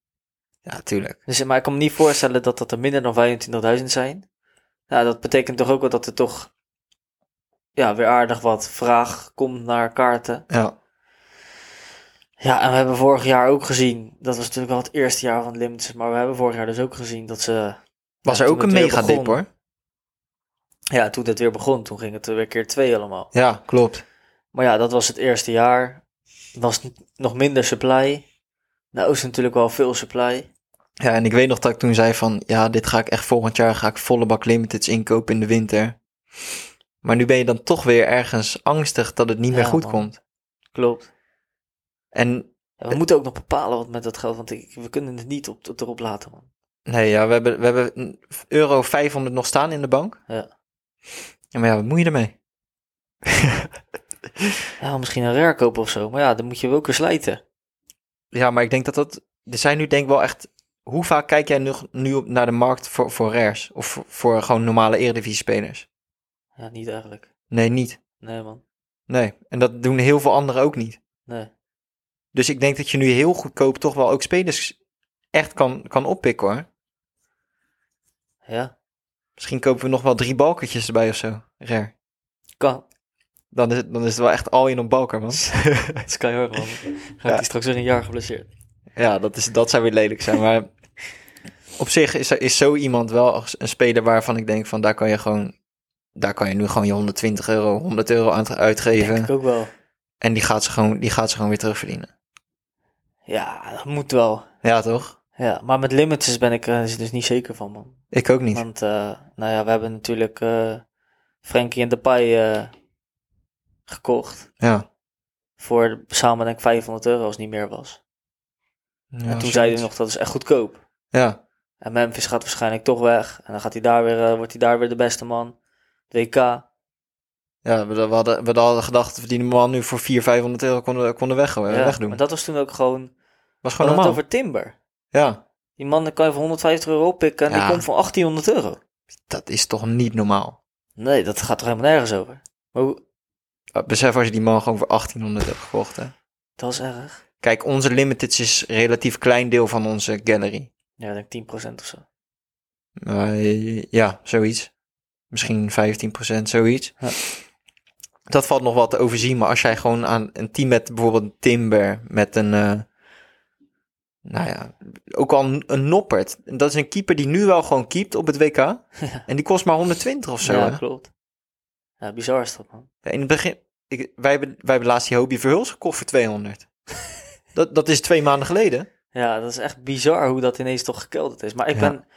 S2: Ja, tuurlijk.
S1: Dus, maar ik kan me niet voorstellen dat dat er minder dan 25.000 zijn. Nou, dat betekent toch ook wel dat er toch ja, weer aardig wat vraag komt naar kaarten.
S2: Ja,
S1: Ja, en we hebben vorig jaar ook gezien, dat was natuurlijk al het eerste jaar van het Limits, maar we hebben vorig jaar dus ook gezien dat ze...
S2: was
S1: ja,
S2: er
S1: toen
S2: ook een
S1: het weer
S2: mega dip
S1: begon-
S2: hoor.
S1: Ja, toen het weer begon, toen ging het weer keer twee allemaal.
S2: Ja, klopt.
S1: Maar ja, dat was het eerste jaar. Er was n- nog minder supply. Nou is natuurlijk wel veel supply.
S2: Ja, en ik weet nog dat ik toen zei van, ja, dit ga ik echt volgend jaar, ga ik volle bak limiteds inkopen in de winter. Maar nu ben je dan toch weer ergens angstig dat het niet meer
S1: Ja,
S2: goed
S1: man.
S2: komt.
S1: Klopt.
S2: En
S1: En we moeten ook nog bepalen wat met dat geld, want ik, we kunnen het niet op, op- erop laten, man.
S2: Nee, ja, we hebben, we hebben een euro 500 nog staan in de bank.
S1: Ja.
S2: Ja, maar ja, wat moet je ermee?
S1: Ja, misschien een rare kopen of zo. Maar ja, dan moet je wel weer slijten.
S2: Ja, maar ik denk dat dat... Er zijn nu denk ik wel echt... Hoe vaak kijk jij nu, nu op- naar de markt voor, voor rares? Of voor, voor gewoon normale eredivisie-spelers?
S1: Ja, niet eigenlijk.
S2: Nee, niet.
S1: Nee, man.
S2: Nee. En dat doen heel veel anderen ook niet.
S1: Nee.
S2: Dus ik denk dat je nu heel goedkoop toch wel ook spelers echt kan, kan oppikken hoor.
S1: Ja,
S2: Misschien kopen we nog wel drie balkertjes erbij of zo. Rare.
S1: kan.
S2: Dan is, het- dan is het wel echt al in op balker, man.
S1: Dat kan heel erg, man. Ga
S2: Ja.
S1: ik die straks weer een jaar geblesseerd.
S2: Ja, dat, is, dat zou weer lelijk zijn. Maar op zich is, er- is zo iemand wel als een speler waarvan ik denk van daar kan je gewoon... Daar kan je nu gewoon je 120 euro, 100 euro aan te-
S1: Denk
S2: uitgeven.
S1: ik ook wel.
S2: En die gaat, ze gewoon, die gaat ze gewoon weer terugverdienen.
S1: Ja, dat moet wel.
S2: Ja, toch?
S1: Ja, maar met limiters ben ik er dus niet zeker van, man.
S2: Ik ook niet.
S1: Want, eh, nou ja, we hebben natuurlijk eh Frankie en Depay eh gekocht.
S2: Ja.
S1: Voor samen denk ik 500 euro als het niet meer was. en toen zeiden ze nog, dat is echt goedkoop.
S2: Ja,
S1: En Memphis gaat waarschijnlijk toch weg. En dan gaat hij daar weer, eh, wordt hij daar weer de beste man. WK.
S2: ja we, we, hadden, we hadden gedacht dat we die man nu voor 400, 500 euro konden, konden weg, eh,
S1: Ja,
S2: wegdoen.
S1: Maar dat was toen ook gewoon...
S2: was gewoon
S1: Gewoon
S2: normaal.
S1: het over Timber.
S2: Ja,
S1: Die man dan kan je voor 150 euro oppikken en
S2: Ja.
S1: die komt voor 1800 euro.
S2: dat is toch niet normaal.
S1: Nee, dat gaat toch helemaal nergens over. Maar hoe-
S2: Uh, Besef als je die man gewoon voor 1800 hebt gekocht. Hè.
S1: dat is erg.
S2: Kijk, onze limited is een relatief klein deel van onze gallery.
S1: Ja, ik denk 10% of zo.
S2: Eh, ja, zoiets. Misschien 15%, zoiets.
S1: Ja.
S2: Dat valt nog wel te overzien, maar als jij gewoon aan een team met bijvoorbeeld een Timber, met een, eh, nou ja, ook al een, een Noppert. Dat is een keeper die nu wel gewoon keept op het WK. En die kost maar 120 of zo.
S1: ja,
S2: hè?
S1: klopt. Ja, bizar is dat, man.
S2: In het begin, ik, wij, hebben, wij hebben laatst die Hobie Verhuls gekocht voor 200. dat, dat is twee maanden geleden.
S1: Ja, dat is echt bizar hoe dat ineens toch gekelderd is. Maar ik
S2: Ja.
S1: ben...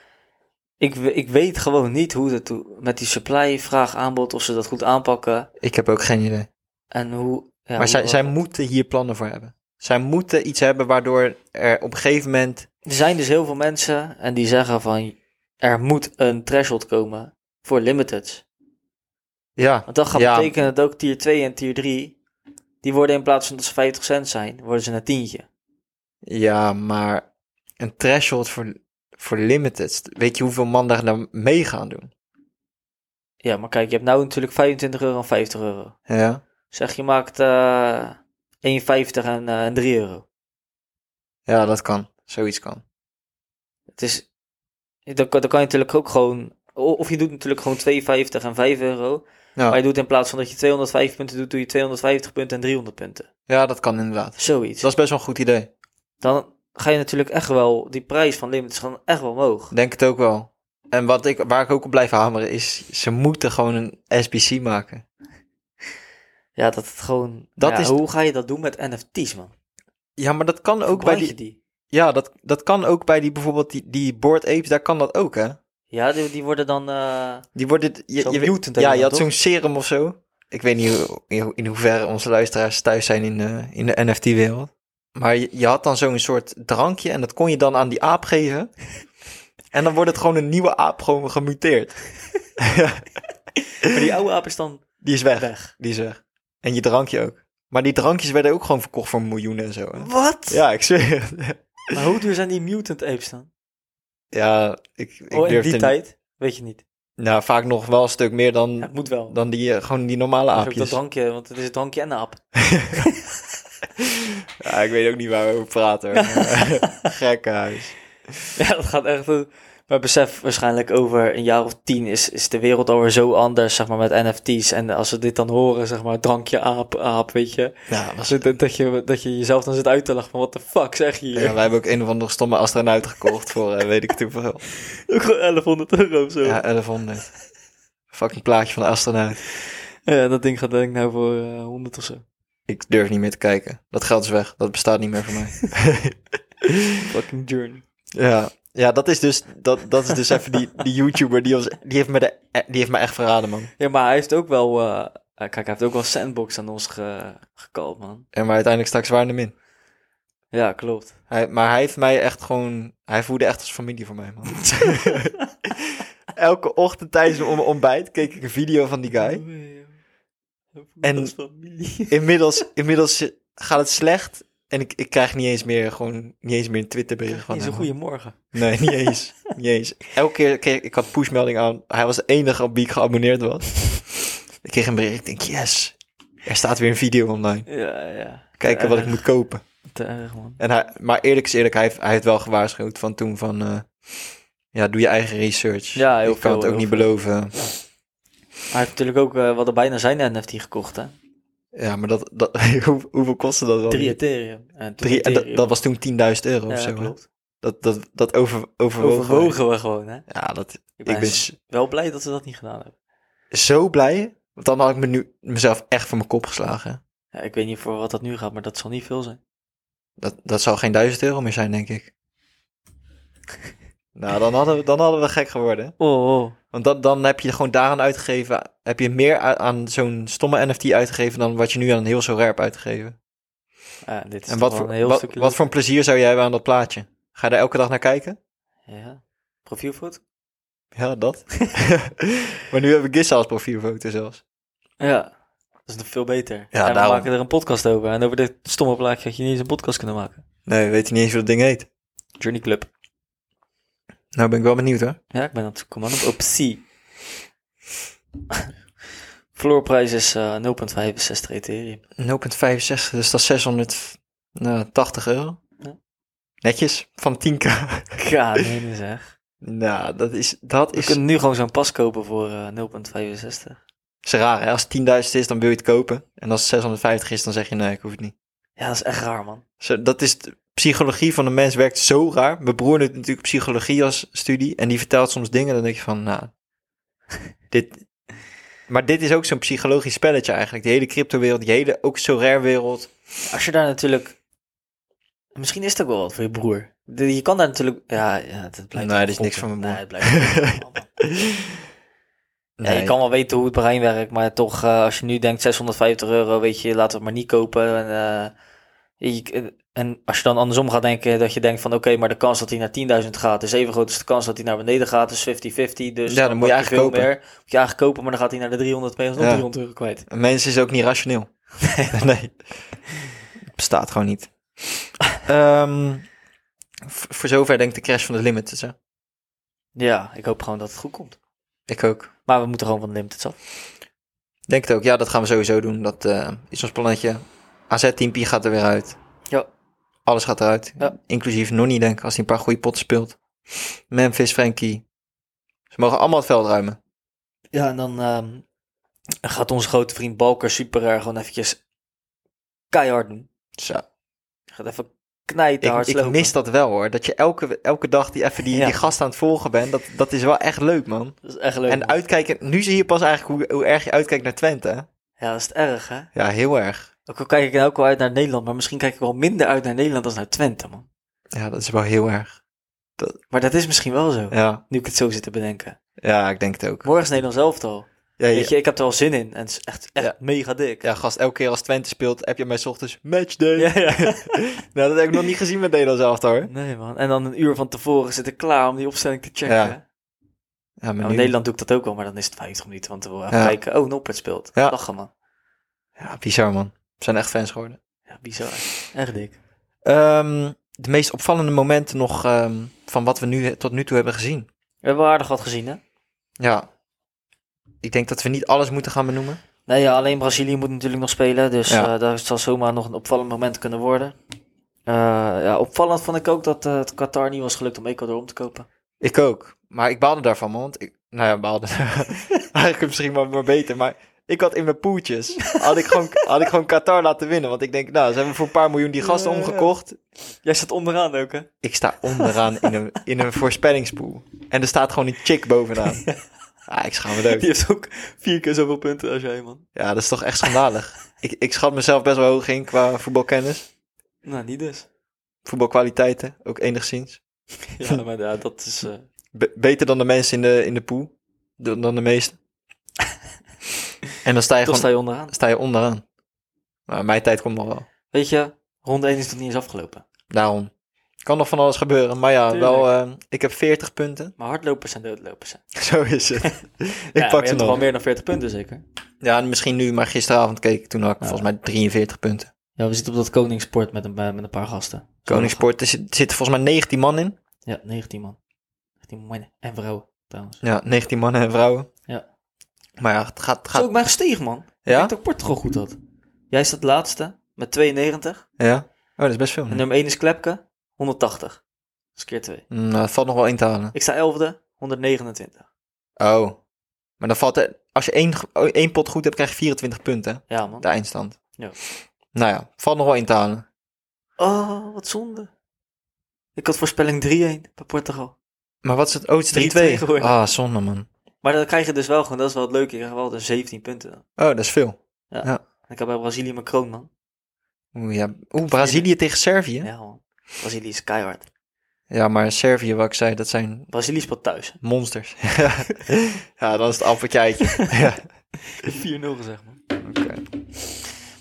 S1: Ik, we- ik weet gewoon niet hoe dat doe- met die supply, vraag, aanbod, of ze dat goed aanpakken.
S2: Ik heb ook geen idee.
S1: En hoe... Ja,
S2: maar
S1: hoe
S2: zij,
S1: dat-
S2: zij moeten hier plannen voor hebben. Zij moeten iets hebben waardoor er op een gegeven moment...
S1: Er zijn dus heel veel mensen en die zeggen van... Er moet een threshold komen voor limiteds.
S2: Ja,
S1: Want dat gaat
S2: Ja.
S1: betekenen dat ook tier 2 en tier 3, die worden in plaats van dat ze 50 cent zijn, worden ze een tientje.
S2: ja maar een threshold voor, voor limited. Weet je hoeveel man daar dan mee gaan doen?
S1: Ja, maar kijk, je hebt nou natuurlijk 25 euro en 50 euro.
S2: Ja,
S1: Zeg, je maakt eh 1,50 en, eh, en 3 euro.
S2: ja dat kan. Zoiets kan.
S1: Het is, dan, kan- dan kan je natuurlijk ook gewoon, o- of je doet natuurlijk gewoon 2,50 en 5 euro. Maar
S2: Ja,
S1: je doet in plaats van dat je 205 punten doet, doe je 250 punten en 300 punten.
S2: ja, dat kan inderdaad.
S1: Zoiets.
S2: Dat is best wel een goed idee.
S1: Dan ga je natuurlijk echt wel, die prijs van limits gaan echt wel omhoog.
S2: Denk het ook wel. En wat ik, waar ik ook op blijf hameren is, ze moeten gewoon een SBC maken.
S1: Ja, dat het gewoon,
S2: Dat
S1: ja,
S2: is-
S1: hoe ga je dat doen met NFT's man?
S2: Ja, maar dat kan ook bij
S1: Verbruik
S2: die,
S1: je die?
S2: ja, dat, dat kan ook bij die bijvoorbeeld die, die Bored Apes, daar kan dat ook hè.
S1: Ja, die, die worden dan. eh,
S2: Die worden, het- je,
S1: Zo'n
S2: je weet-
S1: mutant hebben
S2: ja,
S1: we
S2: je
S1: dan,
S2: had zo'n serum of zo. Ik weet niet hoe- in, ho- in hoeverre onze luisteraars thuis zijn in de, in de NFT-wereld. Maar je, je had dan zo'n soort drankje en dat kon je dan aan die aap geven. En dan wordt het gewoon een nieuwe aap gewoon gemuteerd.
S1: maar die oude aap is dan
S2: Die is weg.
S1: weg.
S2: Die is weg. En je drankje ook. Maar die drankjes werden ook gewoon verkocht voor miljoenen en zo. Hè?
S1: Wat?
S2: Ja, ik zweer het.
S1: Maar hoe duur zijn die mutant apes dan?
S2: Ja, ik, ik
S1: oh, in
S2: durf
S1: die
S2: het
S1: tijd? Weet je niet.
S2: niet- Nou, vaak nog wel een stuk meer dan,
S1: Ja, het moet wel.
S2: dan die, eh, gewoon die normale
S1: Dat is ook dat
S2: aapjes.
S1: drankje, want het is een drankje en een aap.
S2: Ja, ik weet ook niet waar we over praten. hoor. Maar, Gekkenhuis.
S1: Ja, dat gaat echt. eh, Maar besef, waarschijnlijk over een jaar of tien is, is de wereld alweer zo anders, zeg maar, met NFT's. En als ze dit dan horen, zeg maar, drankje aap, aap, weet je.
S2: Ja, was
S1: Dat, dat- dat je, dat je jezelf dan zit uit te lachen van, what the fuck zeg je hier?
S2: Ja, wij hebben ook een of andere stomme astronaut gekocht voor, eh, weet ik het hoeveel.
S1: Ook gewoon 1100 euro of zo.
S2: Ja, 1100. Fucking plaatje van de astronaut.
S1: Ja, dat ding gaat denk ik nou voor eh, 100 of zo.
S2: Ik durf niet meer te kijken. Dat geld is weg. Dat bestaat niet meer voor mij.
S1: Fucking journey.
S2: Ja, ja dat is dus, dat, dat is dus even die, die YouTuber die, ons, die, heeft me de, die heeft me echt verraden, man.
S1: Ja, maar hij heeft ook wel. eh, eh, kijk, hij heeft ook wel sandbox aan ons ge, gekald, man.
S2: En maar uiteindelijk straks waar hem in.
S1: Ja, klopt.
S2: Hij, maar hij heeft mij echt gewoon, hij voelde echt als familie voor mij, man. Elke ochtend tijdens mijn ontbijt keek ik een video van die guy.
S1: En...
S2: En-
S1: eh, familie.
S2: Inmiddels, inmiddels gaat het slecht. En ik, ik krijg niet eens meer, gewoon, niet eens meer een Twitterbericht van
S1: Is een
S2: hem.
S1: goede morgen.
S2: Nee, niet eens. niet eens. Elke keer kreeg ik had pushmelding aan. Hij was de enige op wie ik geabonneerd was. ik kreeg een bericht. Ik denk, yes. Er staat weer een video online.
S1: Ja, ja.
S2: Kijken wat ik moet kopen.
S1: Te erg, man.
S2: En hij, maar eerlijk is eerlijk, hij heeft, hij heeft wel gewaarschuwd van toen van... eh, ja, doe je eigen research.
S1: Ja, heel
S2: Ik
S1: veel,
S2: kan het ook
S1: heel
S2: niet
S1: veel.
S2: beloven.
S1: Hij heeft natuurlijk ook eh, wat er bijna zijn NFT gekocht, hè?
S2: Ja, maar dat, dat, hoe- hoeveel kostte dat dan?
S1: Drie Ethereum. En toen
S2: Drie- en dat,
S1: Ethereum.
S2: dat was toen 10.000 euro of
S1: Ja,
S2: zo. hè?
S1: klopt.
S2: Dat, dat, dat over, overwogen.
S1: Overwogen we gewoon, hè?
S2: Ja, dat,
S1: Ik ben,
S2: ik ben s-
S1: wel blij dat ze dat niet gedaan hebben.
S2: zo blij. Want dan had ik me nu, mezelf echt van mijn kop geslagen.
S1: Ja, ik weet niet voor wat dat nu gaat, maar dat zal niet veel zijn.
S2: Dat, dat zou geen duizend euro meer zijn, denk ik. nou, dan hadden, we, dan hadden we gek geworden.
S1: Oh, oh.
S2: Want dan, dan heb je gewoon daaraan uitgegeven. Heb je meer a- aan zo'n stomme NFT uitgegeven dan wat je nu aan een heel zo rare hebt uitgegeven.
S1: Ja, dit is
S2: en wat
S1: toch wel
S2: voor,
S1: een heel
S2: wat,
S1: stukje
S2: wat voor een plezier zou jij hebben aan dat plaatje? Ga je daar elke dag naar kijken?
S1: Ja. Profielfoto?
S2: Ja, dat. maar nu hebben we Gissa als profielfoto zelfs.
S1: Ja. Dat is nog veel beter. en we
S2: daarom.
S1: maken er een podcast over. En over dit stomme plaatje had je niet eens een podcast kunnen maken.
S2: Nee, weet je niet eens hoe dat ding heet.
S1: Journey Club.
S2: Nou ben ik wel benieuwd hoor.
S1: Ja, ik ben aan het zoeken, man. Op optie. Floorprijs is eh 0,65 Ethereum.
S2: 0,65, dus dat is 680 euro.
S1: Ja.
S2: Netjes, van 10k.
S1: Ja, nee, nee, zeg.
S2: nou, dat is, dat
S1: Je
S2: is,
S1: kunt nu gewoon zo'n pas kopen voor eh 0,65.
S2: is raar. Hè? Als het 10.000 is, dan wil je het kopen. En als het 650 is, dan zeg je nee, ik hoef het niet.
S1: Ja, dat is echt raar, man.
S2: Zo, dat is de psychologie van de mens werkt zo raar. Mijn broer doet natuurlijk psychologie als studie. En die vertelt soms dingen, dan denk je van, nou, dit... Maar dit is ook zo'n psychologisch spelletje eigenlijk. Die hele crypto-wereld, die hele ook zo rare wereld.
S1: Als je daar natuurlijk... Misschien is het ook wel wat voor je broer. De- Je kan daar natuurlijk... Ja, ja het blijft...
S2: Nee, dit is niks voor mijn broer.
S1: Nee, het blijft gokken, man. Ja, je kan wel weten hoe het brein werkt, maar toch, eh, als je nu denkt 650 euro, weet je, laten we het maar niet kopen. En, eh, je- en als je dan andersom gaat denken, dat je denkt van oké, maar de kans dat hij naar 10.000 gaat is even groot als de kans dat hij naar beneden gaat, is 50-50. Dus
S2: Ja, dan moet je
S1: pak
S2: eigenlijk
S1: veel
S2: kopen.
S1: Meer, moet je eigenlijk kopen, maar dan gaat hij naar de 300 mee, alsnog
S2: Ja.
S1: 300 euro kwijt.
S2: Een mens is ook niet rationeel. nee. Het bestaat gewoon niet. Ehm, v- voor zover denk ik de crash van de limited. Hè?
S1: Ja, ik hoop gewoon dat het goed komt.
S2: Ik ook.
S1: Maar we moeten gewoon van de limited af.
S2: Denk het ook. Ja, dat gaan we sowieso doen. Dat eh, is ons plannetje. AZ Team Pi gaat er weer uit.
S1: Ja.
S2: Alles gaat eruit.
S1: Ja.
S2: Inclusief Nonnie, denk ik, als hij een paar goede potten speelt. Memphis, Frankie. Ze mogen allemaal het veld ruimen.
S1: Ja, en dan ehm, gaat onze grote vriend Balker super erg gewoon eventjes keihard doen.
S2: Zo.
S1: Gaat even knijten
S2: Dus Ik,
S1: hard
S2: ik
S1: slopen.
S2: mis dat wel hoor. Dat je elke, elke dag die, even die,
S1: Ja.
S2: die gast aan het volgen bent. Dat, dat is wel echt leuk, man.
S1: Dat is echt leuk.
S2: En
S1: man.
S2: uitkijken, nu zie je pas eigenlijk hoe, hoe erg je uitkijkt naar Twente. hè?
S1: Ja, dat is het erg, hè?
S2: Ja, heel erg.
S1: Ook al kijk ik nou ook wel uit naar Nederland, maar misschien kijk ik wel minder uit naar Nederland dan naar Twente, man.
S2: Ja, dat is wel heel erg.
S1: Maar dat is misschien wel zo,
S2: Ja,
S1: nu ik het zo zit te bedenken.
S2: ja ik denk het ook.
S1: Morgen is Nederland zelf al.
S2: Ja,
S1: Weet
S2: je,
S1: je, ik heb er al zin in en het is echt, echt
S2: Ja.
S1: mega dik.
S2: ja, gast, elke keer als Twente speelt, heb je mij 's ochtends matchday.
S1: Ja, ja.
S2: nou, dat heb ik nog niet gezien met Nederland zelf hoor.
S1: Nee, man. En dan een uur van tevoren zit ik klaar om die opstelling te checken.
S2: Ja,
S1: Ja,
S2: Ja, maar
S1: in
S2: nu-
S1: Nederland doe ik dat ook wel, maar dan is het 50 minuten, want dan wil ik
S2: Ja.
S1: even kijken. Oh, Noppert speelt.
S2: Ja.
S1: Lachen, man.
S2: ja, bizar man. We zijn echt fans geworden.
S1: Ja, bizar. Echt dik.
S2: Ehm, de meest opvallende momenten nog ehm, van wat we nu tot nu toe hebben gezien.
S1: We hebben aardig wat gezien, hè?
S2: Ja, ik denk dat we niet alles moeten gaan benoemen.
S1: Nee, ja, alleen Brazilië moet natuurlijk nog spelen. Dus
S2: Ja.
S1: eh, daar zal zomaar nog een opvallend moment kunnen worden. Eh, ja, opvallend vond ik ook dat eh, het Qatar niet was gelukt om Ecuador om te kopen.
S2: Ik ook. Maar ik baalde daarvan, man. Want ik, nou ja, baalde. Eigenlijk misschien wel maar beter. Maar ik had in mijn poeltjes. Had ik, gewoon, had ik gewoon Qatar laten winnen. Want ik denk, nou, ze hebben voor een paar miljoen die gasten
S1: Ja, ja, ja.
S2: omgekocht.
S1: Jij staat onderaan ook, hè?
S2: Ik sta onderaan in een, in een voorspellingspoel. En er staat gewoon een chick bovenaan. Ah, ik schaam me
S1: Die
S2: dood.
S1: heeft ook vier keer zoveel punten als jij, man.
S2: Ja, dat is toch echt schandalig. Ik, ik schat mezelf best wel hoog in qua voetbalkennis.
S1: Nou, niet dus.
S2: Voetbalkwaliteiten, ook enigszins.
S1: Ja, maar ja, dat is... eh,
S2: Be- beter dan de mensen in de, in de poel. Dan, dan de meesten. En dan sta
S1: toch
S2: je gewoon
S1: sta je onderaan.
S2: sta je onderaan. Maar mijn tijd komt nog wel.
S1: Weet je, ronde 1 is nog niet eens afgelopen.
S2: Daarom. Kan nog van alles gebeuren. Maar ja,
S1: Tuurlijk.
S2: wel, eh, ik heb 40 punten.
S1: Maar hardlopers en doodlopers. hè.
S2: Zo is het. ik
S1: ja, maar
S2: pak
S1: je
S2: ze
S1: hebt toch wel
S2: nog.
S1: meer dan 40 punten zeker?
S2: Ja, misschien nu, maar gisteravond keek ik toen had ik
S1: Ja.
S2: volgens mij 43 punten.
S1: Ja, we zitten op dat Koningsport met een, eh, met een paar gasten.
S2: Koningsport, er zit- zitten volgens mij 19 man in.
S1: Ja, 19 man. 19 mannen en vrouwen trouwens.
S2: Ja, 19 mannen en vrouwen.
S1: Ja.
S2: Maar ja, het gaat... het
S1: Zo,
S2: gaat
S1: ik ben gestegen man. Ik
S2: ja?
S1: denk dat Portugal goed had. Jij staat laatste met 92.
S2: Ja. Oh, dat is best veel.
S1: En
S2: Nou,
S1: nummer 1 is Klepke, 180. Dat is keer 2.
S2: het Mm, nou, valt nog wel in te halen.
S1: Ik sta 11e, 129.
S2: Oh. Maar dan valt er... Als je één, ge- oh, één pot goed hebt, krijg je 24 punten.
S1: Ja man.
S2: De eindstand.
S1: Ja.
S2: Nou ja, valt nog wel in te halen.
S1: Oh, wat zonde. Ik had voorspelling 3-1 bij Portugal.
S2: Maar wat is het? Oh,
S1: 3-2
S2: het is 3-2.
S1: geworden.
S2: Ah, zonde man.
S1: Maar dan krijg je dus wel gewoon, dat is wel het leuke, je krijgt wel de 17 punten. dan.
S2: Oh, dat is veel.
S1: En ik heb bij Brazilië mijn kroon man.
S2: Oeh, ja. Oeh, Brazilië tegen Servië. Ja.
S1: Ja man. Brazilië is keihard.
S2: maar Servië, wat ik zei, dat zijn
S1: Brazilië speelt thuis. 4-0
S2: monsters. ja, dan is het appeltje eitje. ja.
S1: gezegd man.
S2: Oké.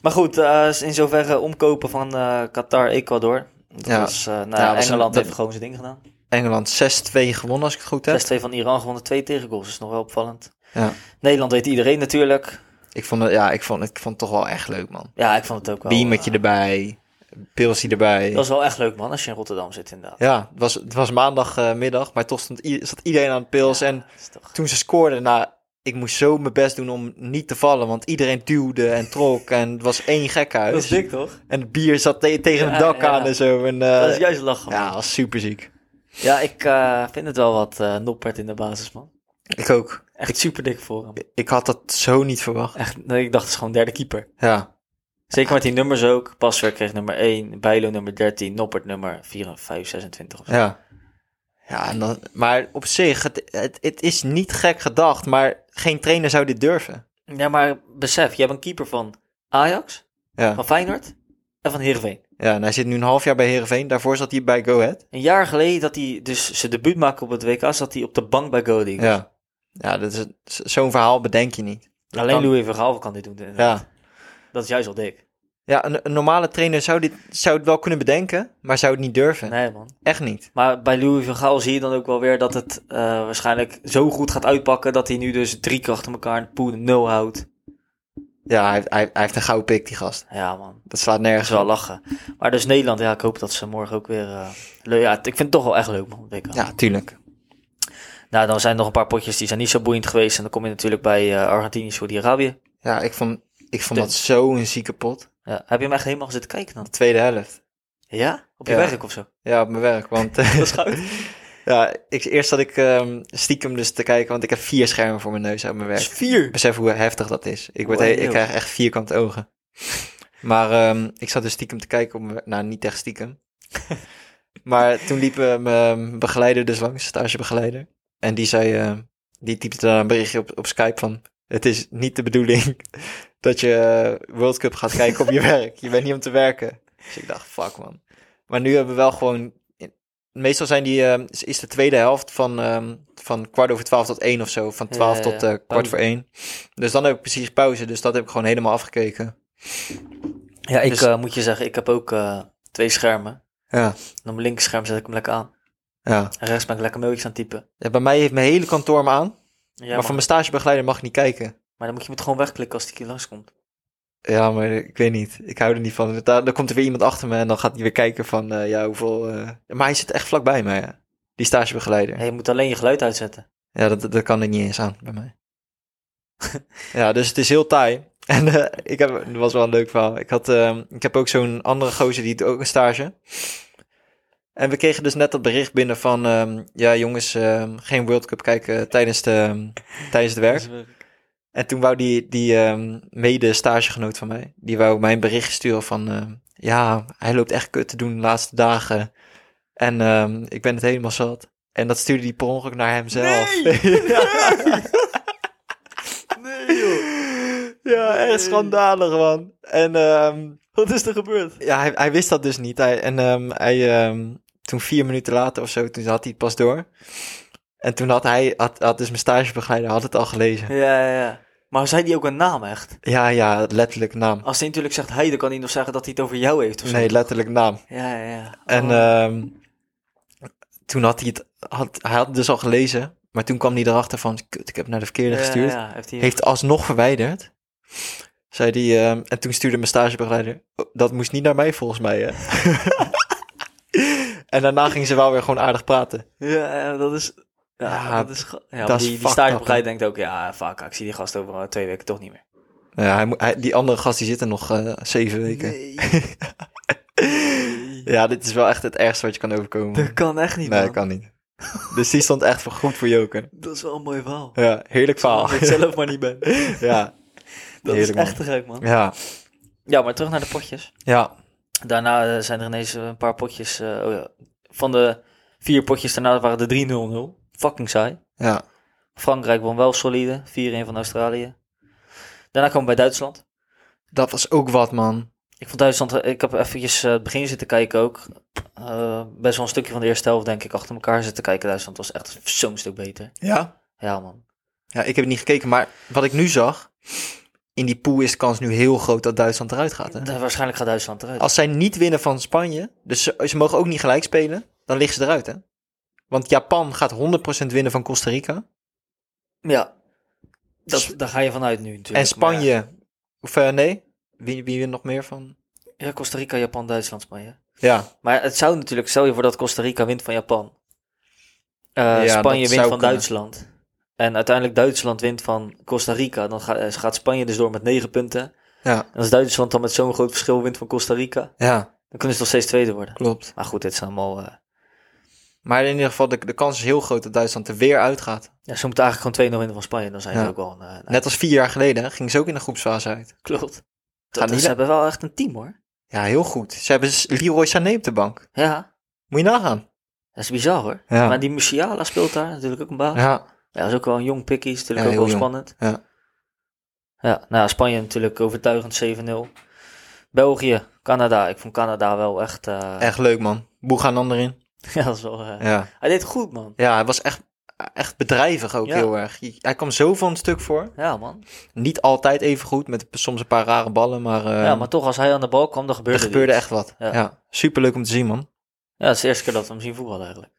S1: Maar goed, eh, in zoverre omkopen van eh, Qatar, Ecuador. Dat
S2: Ja.
S1: was, eh, nou,
S2: Ja, was een-
S1: Engeland
S2: dat-
S1: heeft gewoon zijn ding gedaan. 6-2
S2: Engeland 6-2 gewonnen, als ik het goed heb.
S1: van Iran gewonnen, twee tegengoals. is nog wel opvallend.
S2: Ja.
S1: Nederland weet iedereen natuurlijk.
S2: Ik vond het, ja, ik vond, het- ik vond het toch wel echt leuk, man.
S1: Ja, ik vond het ook wel.
S2: Biemetje
S1: eh,
S2: erbij, pilsie erbij.
S1: Dat is wel echt leuk man, als je in Rotterdam zit inderdaad.
S2: Ja, het was, het was maandagmiddag, maar toch stond, i- zat iedereen aan het pils. En
S1: Dat is toch...
S2: toen ze scoorden, nou, ik moest zo mijn best doen om niet te vallen. Want iedereen duwde en trok en het was één
S1: Dat is
S2: gekhuis.
S1: dik toch?
S2: En het bier zat te- tegen het
S1: Ja,
S2: dak
S1: ja.
S2: aan en zo. En, eh,
S1: dat is juist lachen man.
S2: ja,
S1: Ja,
S2: was superziek.
S1: ik eh, vind het wel wat eh noppert in de basis man.
S2: Ik ook.
S1: Echt super dik voor hem.
S2: Ik had dat zo niet verwacht.
S1: Echt, nee, ik dacht het is gewoon derde keeper.
S2: Ja,
S1: Zeker met die nummers ook. Paswerk kreeg nummer 1, Bijlo nummer 13, Noppert nummer 4, 5, 26 of zo.
S2: ja. Ja, en dan, maar op zich, het, het, het is niet gek gedacht, maar geen trainer zou dit durven.
S1: Ja, maar besef, je hebt een keeper van Ajax,
S2: Ja,
S1: van Feyenoord en van Heerenveen.
S2: ja en hij zit nu een half jaar bij Heerenveen. Daarvoor zat hij bij Go Ahead.
S1: Een jaar geleden dat hij dus zijn debuut maakte op het WK, zat hij op de bank bij Go Eagles.
S2: Ja, ja dat is, zo'n verhaal bedenk je niet.
S1: Alleen
S2: Kan-
S1: Louis van Gaal kan dit doen. inderdaad.
S2: Ja,
S1: Dat is juist al dik.
S2: ja een, een normale trainer zou, dit, zou het wel kunnen bedenken, maar zou het niet durven.
S1: Nee, man.
S2: Echt niet.
S1: Maar bij Louis van Gaal zie je dan ook wel weer dat het eh, waarschijnlijk zo goed gaat uitpakken dat hij nu dus drie keer achter elkaar een poen nul houdt.
S2: Ja, hij, hij, hij heeft een gouden pik, die gast.
S1: Ja, man.
S2: Dat slaat
S1: Dat
S2: nergens
S1: is wel
S2: op.
S1: lachen. Maar dus Nederland, ja, ik hoop dat ze morgen ook weer... eh, leuk. ja, het- ik vind het toch wel echt leuk, man. WK.
S2: Ja, tuurlijk.
S1: Nou, dan zijn er nog een paar potjes die zijn niet zo boeiend geweest. En dan kom je natuurlijk bij eh, Argentinië, Saudi-Arabië.
S2: Ja, ik vond, ik vond
S1: Dit-
S2: dat zo'n zieke pot.
S1: Ja, heb je hem echt helemaal zitten kijken dan?
S2: De tweede helft.
S1: Ja? Op je
S2: Ja.
S1: werk of zo?
S2: Ja, op mijn werk. Want
S1: Dat is goud.
S2: ja, ik, eerst zat ik ehm, stiekem dus te kijken, want ik heb vier schermen voor mijn neus op mijn
S1: Dat is
S2: werk. Ik
S1: vier.
S2: besef hoe heftig dat is. Ik, word
S1: Wow.
S2: he- ik krijg echt vierkante ogen. Maar ehm, ik zat dus stiekem te kijken op mijn werk. Nou, niet echt stiekem. maar toen liep eh, mijn begeleider dus langs, stagebegeleider. En die zei, eh, die typte daar een berichtje op, op Skype van... Het is niet de bedoeling dat je eh, World Cup gaat kijken op je werk. Je bent niet om te werken. Dus ik dacht, fuck man. Maar nu hebben we wel gewoon... eh, Meestal zijn die, eh, is- is de tweede helft van, ehm, van kwart over twaalf tot één of zo. Van
S1: Ja,
S2: twaalf
S1: ja,
S2: tot
S1: ja.
S2: eh, kwart voor één. Dus dan heb ik precies pauze. Dus dat heb ik gewoon helemaal afgekeken.
S1: Ja, ik
S2: Dus-
S1: eh, moet je zeggen, ik heb ook eh, twee schermen.
S2: Ja,
S1: En op mijn linkerscherm zet ik hem lekker aan.
S2: ja.
S1: En rechts ben ik lekker mailtjes aan het typen.
S2: ja bij mij heeft mijn hele kantoor me aan.
S1: Ja,
S2: maar
S1: maar,
S2: van mijn stagebegeleider mag ik niet kijken.
S1: maar dan moet je het gewoon wegklikken als die keer langskomt.
S2: Ja, maar ik weet niet. Ik hou er niet van. Daar, dan komt er weer iemand achter me en dan gaat hij weer kijken van... eh, ja, hoeveel... eh, Maar hij zit echt vlakbij mij, ja. Die stagebegeleider.
S1: Nee, je moet alleen je geluid uitzetten.
S2: Ja, dat, dat kan er niet eens aan bij mij. ja, dus het is heel taai. En eh, ik heb, dat was wel een leuk verhaal. Ik, had, ehm, ik heb ook zo'n andere gozer, die doet ook een stage. En we kregen dus net dat bericht binnen van... ehm, ja, jongens, ehm, geen World Cup kijken tijdens, de, ehm, tijdens het werk. En toen wou die, die ehm, mede-stagegenoot van mij... die wou mij een bericht sturen van... ehm, ja, hij loopt echt kut te doen de laatste dagen. En ehm, ik ben het helemaal zat. En dat stuurde die per ongeluk naar hemzelf. ja.
S1: Nee, joh.
S2: Ja, echt schandalig, man. En ehm,
S1: Wat is er gebeurd?
S2: ja, hij, hij wist dat dus niet. Hij, en ehm, hij, ehm, toen vier minuten later of zo, toen had hij het pas door. En toen had hij, had, had dus mijn stagebegeleider, had het al gelezen.
S1: Ja, ja, ja. Maar zei die ook een naam echt?
S2: Ja, ja, letterlijk naam.
S1: Als hij natuurlijk zegt hij, dan kan hij nog zeggen dat hij het over jou heeft of zo.
S2: Nee, letterlijk naam.
S1: Ja, ja, ja.
S2: En
S1: Oh.
S2: ehm, toen had hij het, had, hij had het dus al gelezen, maar toen kwam hij erachter van, kut, ik heb naar de verkeerde gestuurd.
S1: Ja, ja, heeft hij...
S2: Heeft alsnog verwijderd. Zei die, ehm, en toen stuurde mijn stagebegeleider, "Oh, dat moest niet naar mij volgens mij. Hè? en daarna ging ze wel weer gewoon aardig praten.
S1: Ja, ja, dat is... Ja,
S2: Ja,
S1: dat is... ge- Ja, maar
S2: dat is
S1: die, die
S2: fucked
S1: stagebegeleider
S2: up,
S1: denkt ook, ja, vaak, ik zie die gast over eh, twee weken toch niet meer.
S2: Nou ja, hij, moet- hij- die andere gast die zit er nog eh, zeven weken. Ja, dit is wel echt het ergste wat je kan overkomen.
S1: dat kan echt niet,
S2: nee,
S1: man.
S2: kan niet. Dus die stond echt voor goed voor Joker.
S1: Dat is wel een mooi verhaal.
S2: Ja, heerlijk verhaal.
S1: Als ik zelf maar niet ben.
S2: ja.
S1: Dat
S2: Heerlijk,
S1: is
S2: man.
S1: echt te gek, man.
S2: Ja,
S1: Ja, maar terug naar de potjes.
S2: ja,
S1: Daarna eh, zijn er ineens een paar potjes... eh, oh ja, van de vier potjes daarna waren de 3-0-0. Fucking saai.
S2: ja.
S1: Frankrijk won wel solide. 4-1 van Australië. Daarna komen we bij Duitsland.
S2: Dat was ook wat, man.
S1: Ik vond Duitsland, ik heb eventjes eh, het begin zitten kijken ook. Eh, best wel een stukje van de eerste helft, denk ik, achter elkaar zitten kijken. Duitsland was echt zo'n stuk beter.
S2: Ja?
S1: Ja, man.
S2: Ja, ik heb het niet gekeken, maar wat ik nu zag... In die pool is de kans nu heel groot dat Duitsland eruit gaat. Hè?
S1: Da- Eh, waarschijnlijk gaat Duitsland eruit.
S2: Als zij niet winnen van Spanje, dus ze, ze mogen ook niet gelijk spelen, dan liggen ze eruit, hè? Want Japan gaat 100% winnen van Costa Rica.
S1: Ja. Dat, daar ga je vanuit nu natuurlijk.
S2: en Spanje,
S1: maar
S2: of eh, nee, wie, wie wint nog meer van?
S1: Ja, Ja, Costa Rica, Japan, Duitsland, Spanje.
S2: Ja,
S1: Maar het zou natuurlijk, stel je voor dat Costa Rica wint van Japan. Eh,
S2: Ja, dat
S1: Spanje wint
S2: zou
S1: van
S2: kunnen.
S1: Duitsland. En uiteindelijk Duitsland wint van Costa Rica. Dan ga- eh, gaat Spanje dus door met 9 punten.
S2: ja,
S1: En als Duitsland dan met zo'n groot verschil wint van Costa Rica,
S2: ja,
S1: dan kunnen ze nog steeds tweede worden.
S2: klopt.
S1: Maar goed, dit zijn allemaal. eh,
S2: Maar in ieder geval, de, de kans is heel groot dat Duitsland er weer uitgaat.
S1: ja, ze moeten eigenlijk gewoon 2-0 winnen van Spanje. Dan zijn ze
S2: Ja.
S1: ook wel een. eh, een
S2: Net als vier jaar geleden hè, gingen ze ook in de groepsfase uit.
S1: klopt.
S2: Gaat
S1: Dat,
S2: niet
S1: ze hebben wel echt een team hoor.
S2: Ja, heel goed. Ze hebben s- Leroy Sané op de bank.
S1: Ja,
S2: Moet je nagaan.
S1: dat is bizar hoor.
S2: Ja.
S1: Maar die Musiala speelt daar natuurlijk ook een baan. Ja.
S2: Ja,
S1: dat is ook wel een jong pikkie. Is natuurlijk
S2: Ja,
S1: ook wel
S2: heel jong.
S1: spannend.
S2: Ja.
S1: Ja, nou ja, Spanje natuurlijk overtuigend 7-0. België, Canada. Ik vond Canada wel echt. eh,
S2: echt leuk man. Boeganan erin.
S1: ja, dat is wel. eh,
S2: Ja,
S1: Hij deed het goed man.
S2: ja hij was echt, echt bedrijvig ook
S1: Ja.
S2: heel erg. Hij- Hij kwam zo van het stuk voor.
S1: Ja man.
S2: Niet altijd even goed, met soms een paar rare ballen, maar eh,
S1: ja, maar toch als hij aan de bal kwam, dan
S2: er
S1: gebeurde er
S2: gebeurde
S1: iets.
S2: echt wat.
S1: Ja.
S2: Ja. superleuk om te zien man.
S1: Ja, dat is de eerste keer dat we hem zien voetballen eigenlijk.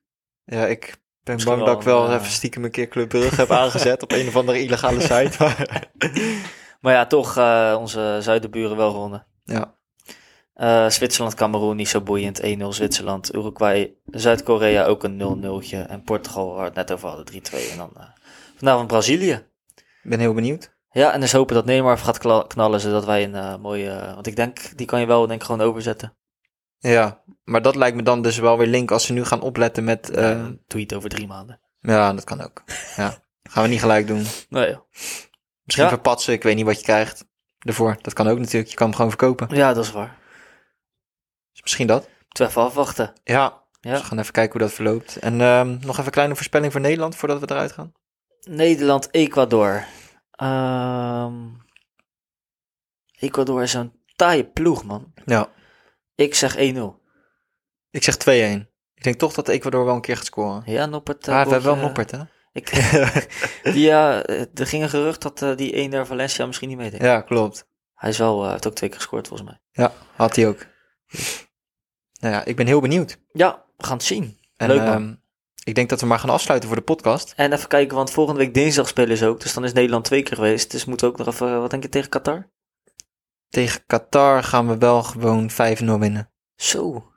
S2: Ja, ik ben
S1: Misschien
S2: bang
S1: wel
S2: dat ik wel
S1: een, eh,
S2: even stiekem een keer Club Brugge heb aangezet op een of andere illegale site. maar-
S1: Maar ja, toch eh, onze zuidenburen wel gewonnen.
S2: ja,
S1: Eh, Zwitserland, Cameroen niet zo boeiend. 1-0 Zwitserland. Uruguay, Zuid-Korea ook een 0-0'tje. En Portugal, waar we het net over hadden, 3-2. En dan eh, vanavond Brazilië.
S2: ik ben heel benieuwd.
S1: Ja, en dus hopen dat Neymar even gaat kla- knallen, zodat wij een eh, mooie... eh, want ik denk, die kan je wel denk ik, gewoon overzetten.
S2: Ja, maar dat lijkt me dan dus wel weer link als ze nu gaan opletten met... eh,
S1: Eh, doe je het over drie maanden.
S2: ja, dat kan ook. Ja, gaan we niet gelijk doen.
S1: Nou ja.
S2: Misschien
S1: Ja.
S2: verpatsen, ik weet niet wat je krijgt ervoor. Dat kan ook natuurlijk, je kan hem gewoon verkopen.
S1: ja, dat is waar.
S2: Dus misschien dat.
S1: Moeten we even afwachten.
S2: Ja,
S1: Ja.
S2: Dus we gaan even kijken hoe dat verloopt. En ehm, nog even een kleine voorspelling voor Nederland voordat we eruit gaan.
S1: Nederland, Ecuador. Ehm, Ecuador is zo'n taaie ploeg, man.
S2: Ja,
S1: Ik zeg 1-0.
S2: ik zeg 2-1. Ik denk toch dat Ecuador wel een keer gaat scoren.
S1: Ja, Noppert. eh,
S2: Ja, Ah, we hebben wel
S1: wordt, eh,
S2: Noppert, hè?
S1: Ik, ja, er ging een gerucht dat eh, die een daar Valencia misschien niet meedeed.
S2: ja, klopt.
S1: Hij is wel, eh, heeft ook twee keer gescoord volgens mij.
S2: Had hij ook. Nou ja, ik ben heel benieuwd.
S1: Ja, we gaan het zien.
S2: En,
S1: Leuk, man.
S2: ehm, ik denk dat we maar gaan afsluiten voor de podcast.
S1: En even kijken, want volgende week dinsdag spelen ze ook. Dus dan is Nederland twee keer geweest. Dus moeten we ook nog even, eh, wat denk je, tegen Qatar?
S2: Tegen Qatar gaan we wel gewoon 5-0 winnen. 5-0,
S1: Zo.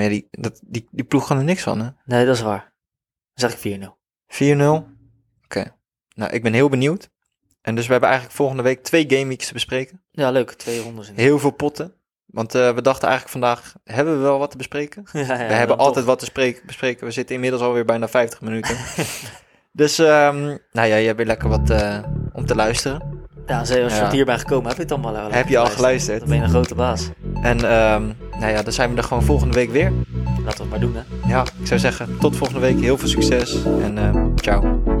S2: ja, die, dat, die, die ploeg kan er niks van, hè? 4-0.
S1: Nee, dat is waar. Dan zeg ik 4-0.
S2: Oké. Nou, ik ben heel benieuwd. En dus we hebben eigenlijk volgende week twee gameweeks te bespreken.
S1: Ja, leuk. Twee rondes in.
S2: Heel veel potten. Want eh, we dachten eigenlijk vandaag, hebben we wel wat te bespreken?
S1: Ja, ja,
S2: we hebben
S1: dan
S2: altijd wat te spreken, bespreken. We zitten inmiddels alweer bijna 50 minuten. dus, ehm, nou ja, je hebt weer lekker wat eh, om te luisteren.
S1: toch. Ja, zeker, als je
S2: Ja.
S1: tot hier bent gekomen, heb je het allemaal al
S2: Heb je al geluisterd?
S1: Dan ben je een grote baas.
S2: En ehm, nou ja, dan zijn we er gewoon volgende week weer.
S1: Laten we het maar doen, hè.
S2: Ja, ik zou zeggen, tot volgende week. Heel veel succes en eh, ciao.